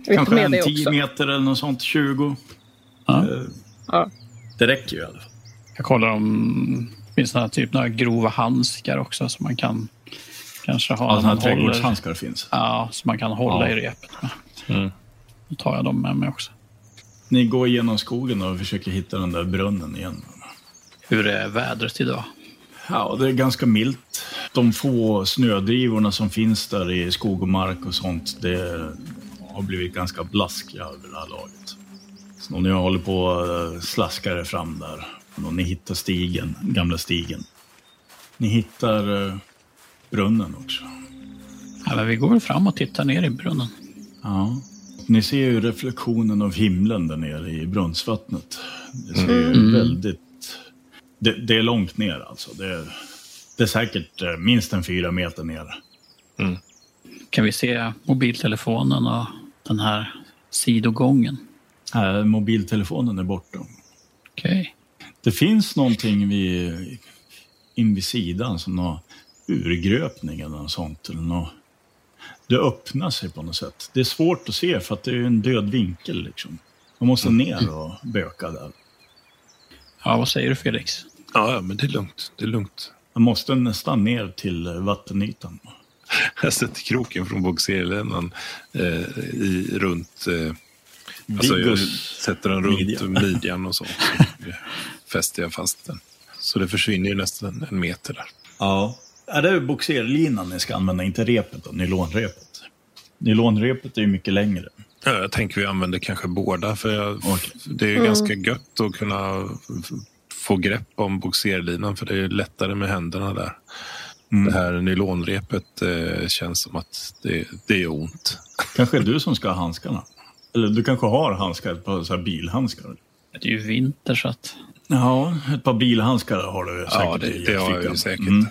S4: Vi tar
S1: Kanske
S4: med
S1: en
S4: det
S1: 10
S4: också.
S1: meter eller något sånt, 20.
S3: Ja.
S1: Eh,
S4: Ja.
S1: Det räcker ju i alla fall.
S3: Jag kollar om det finns några, typ, några grova handskar också som man kan kanske ha. när
S1: Alltså,
S3: man
S1: här
S3: håller-
S1: trädgårdshandskar finns.
S3: Ja, som man kan hålla
S1: Ja. Mm.
S3: i repet med. Då tar jag dem med mig också.
S1: Ni går igenom skogen och försöker hitta den där brunnen igen.
S3: Hur är vädret idag?
S1: Ja, det är ganska milt. De få snödrivorna som finns där i skog och mark och sånt, det har blivit ganska blaskiga över det här laget. Så ni håller på och slaskar er fram där. Och ni hittar stigen, gamla stigen. Ni hittar eh, brunnen också.
S3: Ja, men vi går väl fram och tittar ner i brunnen.
S1: Ja. Ni ser ju reflektionen av himlen där nere i brunnsvattnet. Det ser ju väldigt... Det, det är långt ner alltså. Det, är- det är säkert eh, minst en fyra meter ner.
S3: Kan vi se mobiltelefonen och den här sidogången?
S1: Äh, mobiltelefonen är borta.
S3: Okej.
S1: Det finns någonting vid, in vid sidan som någon urgröpning eller något sånt. Eller något. Det öppnar sig på något sätt. Det är svårt att se för att det är en död vinkel. Liksom. Man måste
S2: Mm.
S1: ner och böka där.
S3: Ja, vad säger du Felix?
S2: Ja, ja, men det är lugnt. Det är lugnt.
S1: Man måste nästan ner till eh, vattenytan.
S2: Jag sätter kroken från bogserlinan eh, i- runt... Eh, alltså, jag
S1: Viggus
S2: sätter den runt
S1: midja.
S2: midjan och så. så fäster jag fast den. Så det försvinner ju nästan en meter där.
S1: Ja. ja. Det är boxerlinan ni ska använda, inte repet och nylonrepet. Nylonrepet är ju mycket längre.
S2: Ja, jag tänker vi använder kanske båda. För jag,
S1: Okej.
S2: Det är ju ganska gött att kunna f- få grepp om bogserlinan för det är ju lättare med händerna där. Det här nylonrepet eh, känns som att det, det är ont.
S1: Kanske är du som ska ha handskarna. Eller du kanske har handskar, ett par så här bilhandskar.
S3: Det är ju vinter så att...
S1: Ja, ett par bilhandskar har du säkert
S2: ja, det,
S1: i
S2: det har jag
S1: fickan.
S2: ju säkert.
S1: Mm.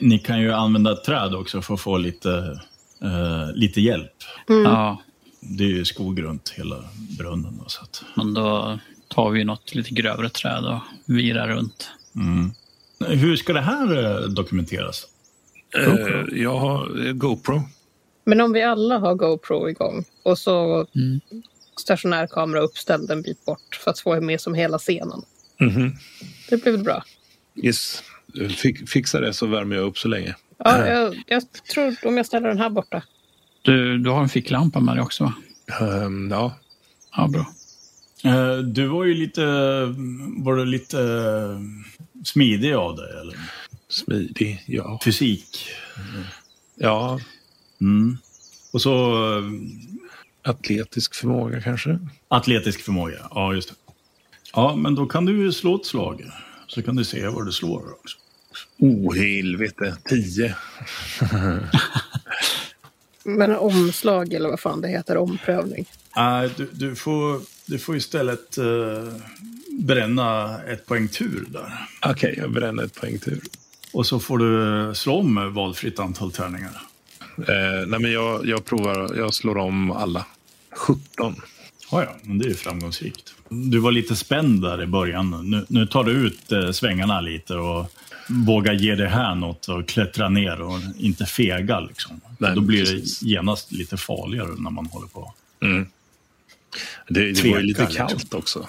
S1: Ni kan ju använda ett träd också för att få lite, eh, lite hjälp.
S3: Ja,
S1: Det är ju skog runt hela brunnen. då, Så att,
S3: men då tar vi något lite grövre träd och virar runt.
S1: mm. Hur ska det här eh, dokumenteras?
S2: Eh, Jag har eh, GoPro.
S4: Men om vi alla har GoPro igång och så
S3: Mm.
S4: stationär kamera uppställd en bit bort för att få med som hela scenen.
S2: Mhm.
S4: Det blir väl bra?
S2: Yes. Fi- fixa det så värmer jag upp så länge.
S4: Ja, jag, jag tror om jag ställer den här borta.
S3: Du, du har en ficklampa med dig också va?
S2: Ehm, ja.
S3: Ja, bra.
S1: Eh, Du var ju lite, var du lite eh, smidig av dig, eller?
S2: Smidig. Ja.
S1: Fysik.
S2: ja.
S1: Mm. Och så eh,
S2: Atletisk förmåga kanske.
S1: atletisk förmåga. Ja, just det. Ja, men då kan du ju slå ett slag. Så kan du se vad du slår också.
S2: Oh, helvete. Tio.
S4: Men omslag eller vad fan det heter, omprövning.
S1: Nej, du, du, får, du får istället eh, bränna ett poäng tur där.
S2: Okej, jag bränner ett poäng till.
S1: Och så får du slå om valfritt antal tärningar.
S2: Eh, nej, men jag, jag provar. Jag slår om alla. 17.
S1: Ja, ja, men det är ju framgångsrikt. Du var lite spänd där i början. Nu, nu tar du ut eh, svängarna lite och vågar ge det här något och klättra ner och inte fega. Liksom.
S2: Nej,
S1: Då blir
S2: precis.
S1: det genast lite farligare när man håller på.
S2: Det, det var ju lite
S1: Tvekar, liksom.
S2: kallt också.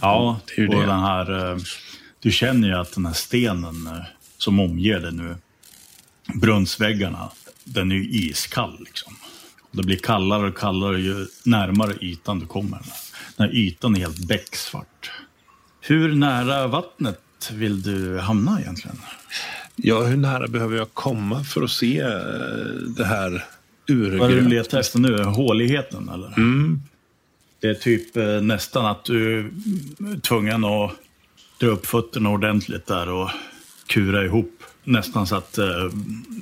S1: Ja,
S2: det är ju
S1: och
S2: det.
S1: den här... eh, Du känner ju att den här stenen eh, som omger dig nu, brunnsväggarna, den är ju iskall. Liksom. Det blir kallare och kallare ju närmare ytan du kommer. Den här ytan är helt becksvart. Hur nära vattnet vill du hamna egentligen?
S2: Ja, hur nära behöver jag komma för att se eh, det här
S1: Vad är det du
S2: urgröna?
S1: letar efter nu? Håligheten eller? Det är typ eh, nästan att du är tvungen att dra upp fötterna ordentligt där och kura ihop. Nästan så att eh,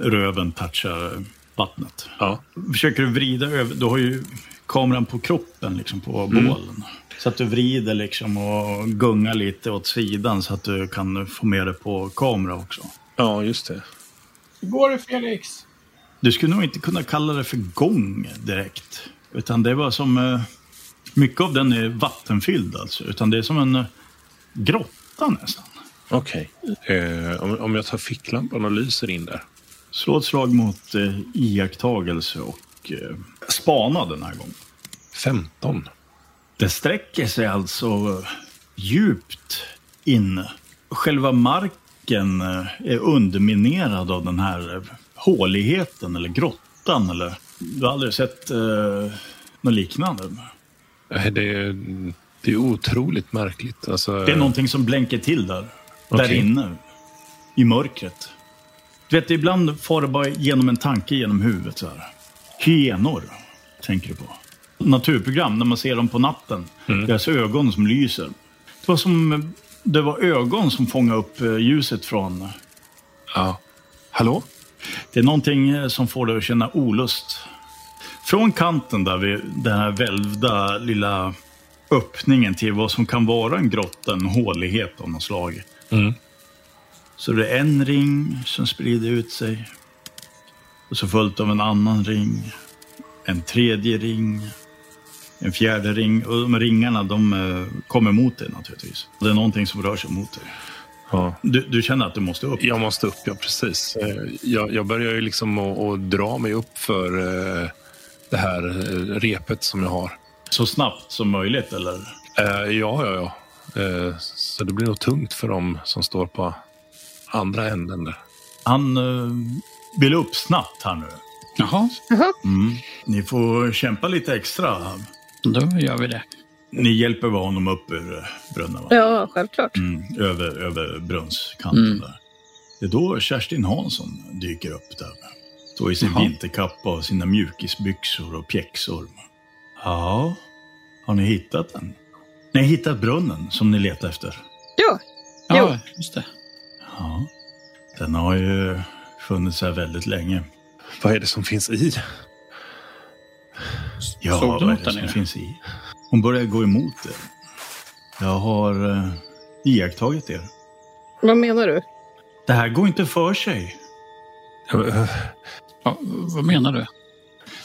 S1: röven touchar vattnet.
S2: Ja.
S1: Försöker du vrida över, du har ju kameran på kroppen, liksom på bålen. Så att du vrider liksom och gungar lite åt sidan så att du kan få med det på kamera också.
S2: ja, just det.
S5: Hur går det Felix?
S1: Du skulle nog inte kunna kalla det för gång direkt. Utan det var som... eh, Mycket av den är vattenfylld alltså. Utan det är som en eh, grotta nästan.
S2: Okej. Eh, om, om jag tar ficklampan och lyser in där.
S1: Slå ett slag mot eh, iakttagelse och eh, spana den här gången.
S2: 15.
S1: Det sträcker sig alltså djupt in. Själva marken eh, är underminerad av den här eh, håligheten eller grottan. Eller, du har aldrig sett eh, något liknande.
S2: Eh, Det, är- det är otroligt märkligt. Alltså,
S1: Det är någonting som blänker till där. Där
S2: Okej.
S1: inne. I mörkret. Du vet, ibland far det bara genom en tanke genom huvudet. Så här. Hyenor, tänker du på. Naturprogram, när man ser dem på natten. Deras ögon som lyser. Det var som det var ögon som fångade upp eh, ljuset från...
S2: Ja. Hallå?
S1: Det är någonting eh, som får dig att känna olust. Från kanten där vid den här välvda lilla öppningen till vad som kan vara en grotta, en hålighet av något slag.
S2: Mm.
S1: Så det är en ring som sprider ut sig. Och så följt av en annan ring. En tredje ring. En fjärde ring. Och de ringarna de eh, kommer mot dig naturligtvis. Det är någonting som rör sig mot dig.
S2: Ja.
S1: Du, du känner att du måste upp.
S2: Jag måste upp, ja precis. Eh, Jag, jag börjar ju liksom att, att dra mig upp för eh, det här eh, repet som jag har.
S1: Så snabbt som möjligt eller?
S2: Eh, ja, ja, ja. Eh, så det blir nog tungt för dem som står på andra änden där.
S1: Han eh, vill upp snabbt här nu.
S3: Jaha,
S1: Ni får kämpa lite extra.
S3: då gör vi det.
S1: Ni hjälper väl honom upp ur eh, brunnen? Va?
S4: Ja, självklart.
S1: Mm, över, över brunnskanten där. Det är då Kerstin Hansson dyker upp där. Står i sin
S3: Jaha.
S1: vinterkappa och sina mjukisbyxor och pjäxor. Ja, har ni hittat den? Ni har hittat brunnen som ni letar efter?
S4: Ja,
S3: Ja, just det.
S1: Ja. Den har ju funnits här väldigt länge.
S2: Vad är det som finns i?
S1: Ja,
S3: Såg du
S1: vad
S3: något
S1: är det
S3: där
S1: som
S3: nere?
S1: finns i? Hon börjar gå emot det. Jag har eh, iakttagit er.
S4: vad menar du?
S1: Det här går inte för sig.
S2: Eh,
S3: Ja, vad menar du?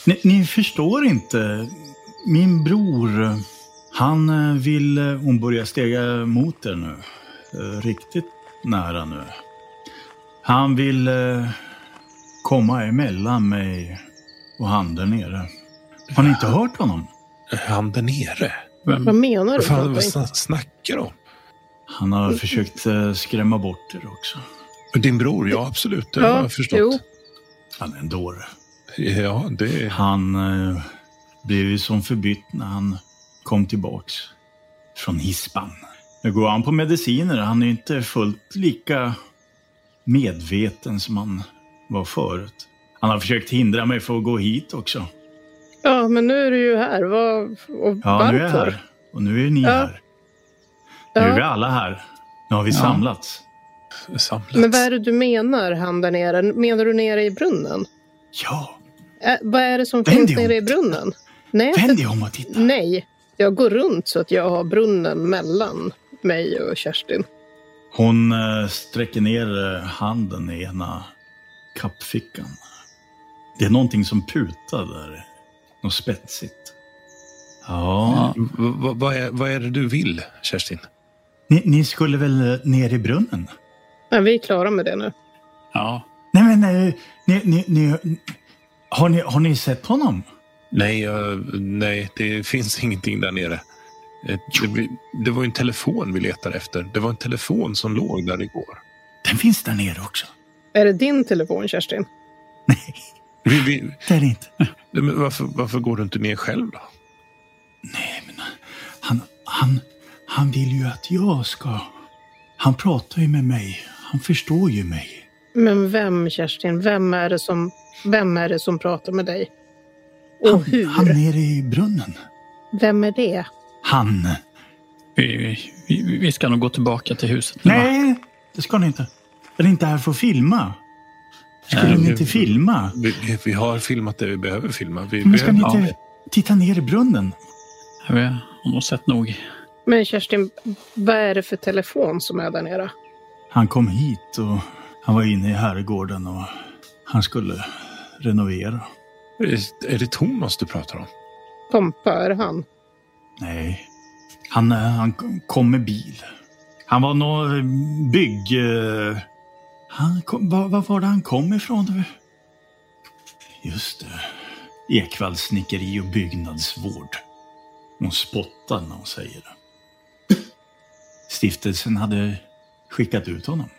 S1: Ni, ni förstår inte. Min bror, han eh, vill... eh, Hon börjar stega mot er nu. Eh, Riktigt nära nu. Han vill eh, komma emellan mig och han där nere. Har ni inte hört honom?
S2: Han där nere?
S3: Vem?
S4: Vad menar du?
S2: Vad
S4: för
S2: fan vad
S4: någonting?
S2: sna- snackar du om?
S1: Han har försökt eh, skrämma bort er också.
S2: Din bror, ja absolut. Det har jag förstått.
S4: jo.
S1: Han är en dåre.
S2: Ja, det...
S1: Han eh, blev ju som förbytt när han kom tillbaks från hispan. Nu går han på mediciner. Han är ju inte fullt lika medveten som han var förut. Han har försökt hindra mig från att gå hit också.
S4: Ja, men nu är du ju här. Vad, och
S1: Ja,
S4: varför?
S1: nu är jag här. Och nu är ni
S4: Ja.
S1: här. Nu är vi alla här. Nu har vi
S3: Ja.
S1: samlats.
S2: samlats.
S4: Men vad är det du menar, han där nere? Menar du nere i brunnen?
S1: Ja,
S4: Ä, vad är det som
S1: Vänd
S4: finns
S1: dig om.
S4: nere i brunnen? Nej,
S1: vänd
S4: jag,
S1: dig om och titta.
S4: nej, jag går runt så att jag har brunnen mellan mig och Kerstin.
S1: Hon eh, sträcker ner eh, handen i ena kappfickan. Det är någonting som putar där. Något spetsigt. Ja,
S3: Ja,
S2: V- v- vad, är, vad är det du vill, Kerstin?
S1: ni, ni skulle väl eh, ner i brunnen?
S4: Men vi är klara med det nu.
S3: ja.
S1: Nej, men nej, ni, ni, ni, har, ni, har ni sett honom?
S2: Nej, jag- nej, det finns ingenting där nere. Eh, Det, vi- det var ju en telefon vi letade efter. Det var en telefon som låg där igår.
S1: Den finns där nere också.
S4: Är det din telefon, Kerstin?
S1: Nej,
S2: Vi, vi,
S1: det är det inte.
S2: men varför, varför går du inte ner själv då?
S1: Nej, men eh, han, han, han vill ju att jag ska... Han pratar ju med mig. Han förstår ju mig.
S4: Men vem, Kerstin? Vem är det som, vem är det som pratar med dig? Och hur?
S1: Han nere i brunnen.
S4: Vem är det?
S1: Han. eh,
S3: Vi, vi- vi, vi ska nog gå tillbaka till huset nu, va?
S1: Nej, det ska ni inte. Jag är inte här för att filma. Skulle
S3: Nej,
S1: ni
S2: vi-
S1: inte filma?
S2: Vi, vi, vi har filmat det vi behöver filma. Vi,
S1: Men ska ni
S2: behöver-
S1: inte titta ner i brunnen?
S3: Vi har nog sett nog.
S4: Men Kerstin, vad är det för telefon som är där nere?
S1: Han kom hit och han var inne i herrgården och han skulle renovera.
S2: Är- Är det Thomas du pratar om?
S4: Pompa, är det han?
S1: Nej, han, eh, han kom med bil. Han var någon bygg... eh, Han kom, var, var var det han kom ifrån? Just det. Ekvalls snickeri och byggnadsvård. Hon spottar när hon säger det. Stiftelsen hade skickat ut honom.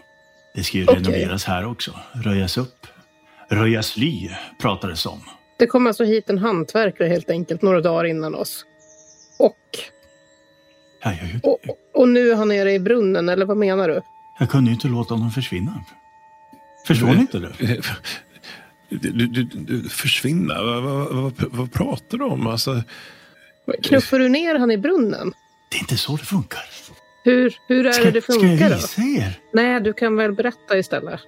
S1: Det ska ju
S4: Okej.
S1: renoveras här också. Röjas upp. Röjas ly, pratades om.
S4: Det kom alltså hit en hantverkare helt enkelt några dagar innan oss. Och,
S1: Ja, jag,
S4: och, och nu är han nere i brunnen, eller vad menar du?
S1: jag kunde ju inte låta honom försvinna. Förstår ni inte det?
S2: Du, du, du, försvinna? Vad, vad, vad, vad pratar du om? Alltså,
S4: Knuffar du ner han i brunnen?
S1: Det är inte så det funkar.
S4: Hur, hur är det det
S1: ska jag
S4: funkar då?
S1: visa er?
S4: Nej, du kan väl berätta istället.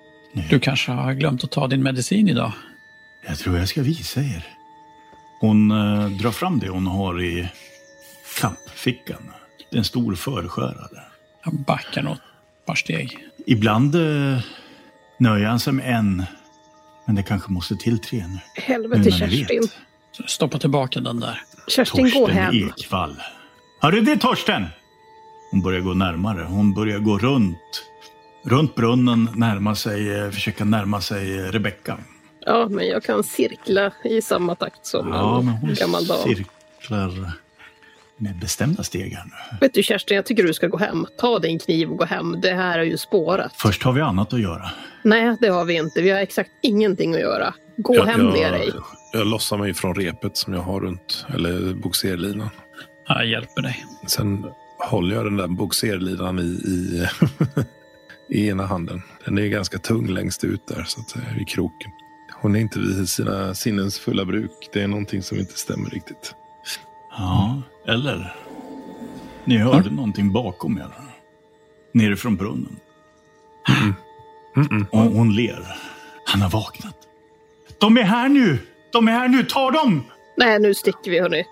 S3: Du kanske har glömt att ta din medicin idag?
S1: Jag tror jag ska visa er. Hon eh, drar fram det hon har i kappfickan. Det är en stor förskärare.
S3: Jag backar nog ett par steg.
S1: Ibland eh, nöjer han sig med en, men det kanske måste till tre nu. Nu
S4: Helvete
S1: när ni
S4: Kerstin.
S1: vet.
S3: Stoppa tillbaka den där.
S4: Kerstin, gå hem.
S1: Torsten Ekvall. Hörru du Torsten! Hon börjar gå närmare. Hon börjar gå runt. Runt brunnen, närma sig, eh, försöka närma sig eh, Rebecka.
S4: Ja, men jag kan cirkla i samma takt som
S1: Ja,
S4: en
S1: men hon
S4: gammal dam.
S1: cirklar med bestämda steg här nu.
S4: Vet du Kerstin, jag tycker du ska gå hem. Ta din kniv och gå hem. Det här är ju spårat.
S1: Först har vi annat att göra.
S4: Nej, det har vi inte. Vi har exakt ingenting att göra. Gå
S2: jag,
S4: hem med dig.
S2: jag, jag lossar mig från repet som jag har runt, eller bogserlinan.
S3: Jag hjälper dig.
S2: Sen håller jag den där bogserlinan i, i, i ena handen. Den är ganska tung längst ut där, så att säga, i kroken. Hon är inte vid sina sinnens fulla bruk. Det är någonting som inte stämmer riktigt.
S1: Ja, eller? Ni hörde någonting bakom er. Nerifrån brunnen.
S2: Mm-mm.
S1: Och hon ler. Han har vaknat. De är här nu! De är här nu! Ta dem!
S4: Nej, nu sticker vi hörni.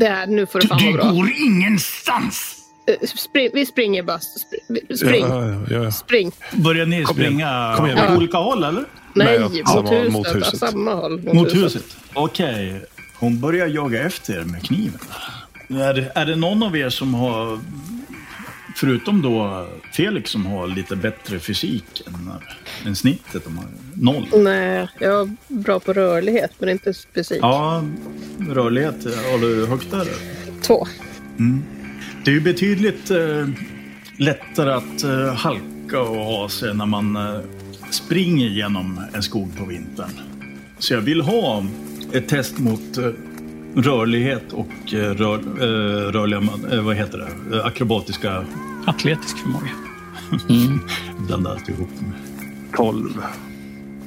S4: Det här, nu får det fan
S1: Du
S4: vara bra.
S1: går ingenstans!
S4: Eh, Spring, vi springer bara. Spr- vi- Spring,
S2: Ja, ja, ja.
S4: spring.
S1: Börjar ni
S2: Kom igen.
S1: springa
S2: Kom igen,
S1: åt
S2: Mikael.
S1: olika håll, eller?
S4: Nej,
S2: Nej, åt
S4: mot,
S2: samma-
S4: huset,
S2: mot huset.
S4: Åt samma håll.
S1: Mot huset. Okej. Hon börjar jaga efter er med kniven. Är, är det någon av er som har, förutom då Felix som har lite bättre fysik än, än snittet, de har noll.
S4: Nej, jag är bra på rörlighet men inte fysik.
S1: Ja, rörlighet har du högt där.
S4: Två.
S1: Det är ju betydligt eh, lättare att eh, halka och ha sig när man eh, springer genom en skog på vintern. Så jag vill ha ett test mot eh, rörlighet och eh, rör, eh, rörliga, man- eh, vad heter det, Eh, akrobatiska
S3: Atletisk förmåga.
S1: blandat ihop.
S2: 12.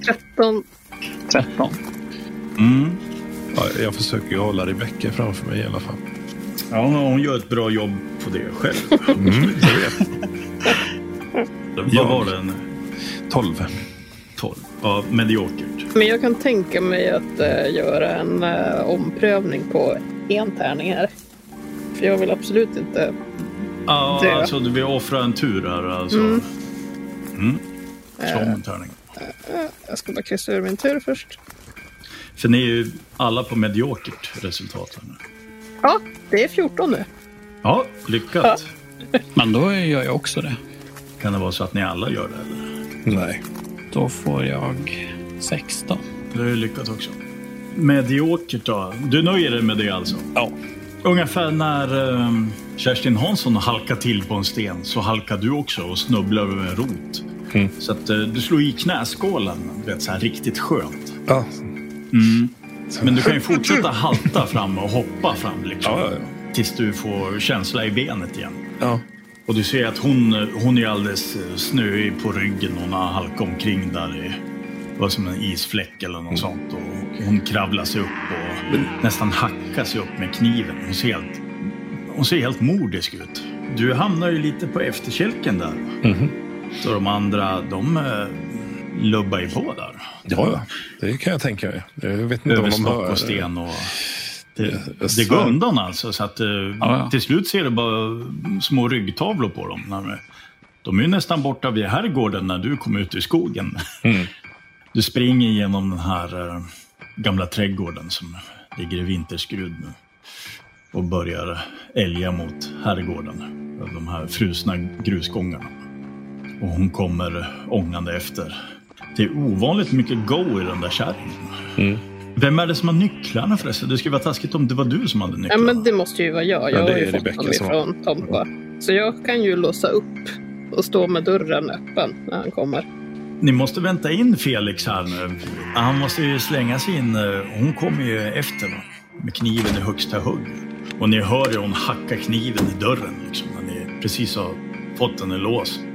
S4: 13.
S3: 13.
S1: Mm.
S2: Ja, jag försöker ju hålla Rebecka framför mig i alla fall.
S1: Ja, hon gör ett bra jobb på det själv. Vad
S2: Ja.
S1: var den?
S2: 12.
S1: 12. Ja, mediokert.
S4: Men jag kan tänka mig att eh, göra en eh, omprövning på en tärning här. För jag vill absolut inte...
S1: Ja,
S4: Det.
S1: alltså du vill offra en tur här alltså. Mm.
S4: Mm.
S1: Slå om en tärning.
S4: Jag ska bara kryssa ur min tur först.
S1: För ni är ju alla på mediokert resultat. här nu.
S4: Ja, det är 14 nu.
S1: Ja, lyckat.
S3: Men då gör jag också det.
S1: Kan det vara så att ni alla gör det? Eller?
S2: Nej.
S3: Då får jag 16.
S1: Det är ju lyckat också. Mediokert då. Du nöjer dig med det alltså?
S3: Ja.
S1: Ungefär när ehm, Kerstin Hansson halkar till på en sten så halkar du också och snubblar över en rot.
S2: Mm.
S1: Så att eh, du slår i knäskålen, du vet, så här riktigt skönt.
S2: Ja.
S1: Men du kan ju fortsätta halta fram och hoppa fram liksom.
S2: Ja, ja,
S1: Tills du får känsla i benet igen.
S2: ja.
S1: Och du ser att hon, hon är alldeles eh, snöig på ryggen. Hon har halkat omkring där i det var som en isfläck eller något
S2: Mm.
S1: sånt. Och hon kravlar sig upp och nästan hackar sig upp med kniven. Hon ser helt, hon ser helt mordisk ut. Du hamnar ju lite på efterkälken där.
S2: Mhm.
S1: Så de andra, de eh, lubbar ju på där.
S2: Ja, ja. Det kan jag tänka mig. Jag vet inte
S1: Över
S2: om de
S1: stock
S2: hör.
S1: och sten och... Det,
S2: jag
S1: det går
S2: svär.
S1: undan alltså. Så att, eh,
S3: ja.
S1: Till slut ser du bara små ryggtavlor på dem. När de- De är ju nästan borta vid herrgården när du kom ut i skogen.
S2: Mm.
S1: Du springer genom den här eh, gamla trädgården som ligger i vinterskrud nu. Och börjar älga mot herrgården. De här frusna grusgångarna. Och hon kommer ångande efter. Det är ovanligt mycket go i den där kärringen.
S2: Mm.
S1: Vem är det som har nycklarna förresten? Det skulle vara taskigt om det var du som hade
S4: Ja,
S1: nycklarna.
S4: men det måste ju vara jag. Jag
S2: Ja, det är
S4: har ju fått
S2: Rebecka
S4: dem
S2: som har-
S4: ifrån Tompa. Så jag kan ju låsa upp och stå med dörren öppen när han kommer.
S1: Ni måste vänta in Felix här nu. Han måste ju slänga sig in. eh, Hon kommer ju efter va? med kniven i högsta hugg. Och ni hör ju hon hacka kniven i dörren liksom. När ni precis har fått den i lås.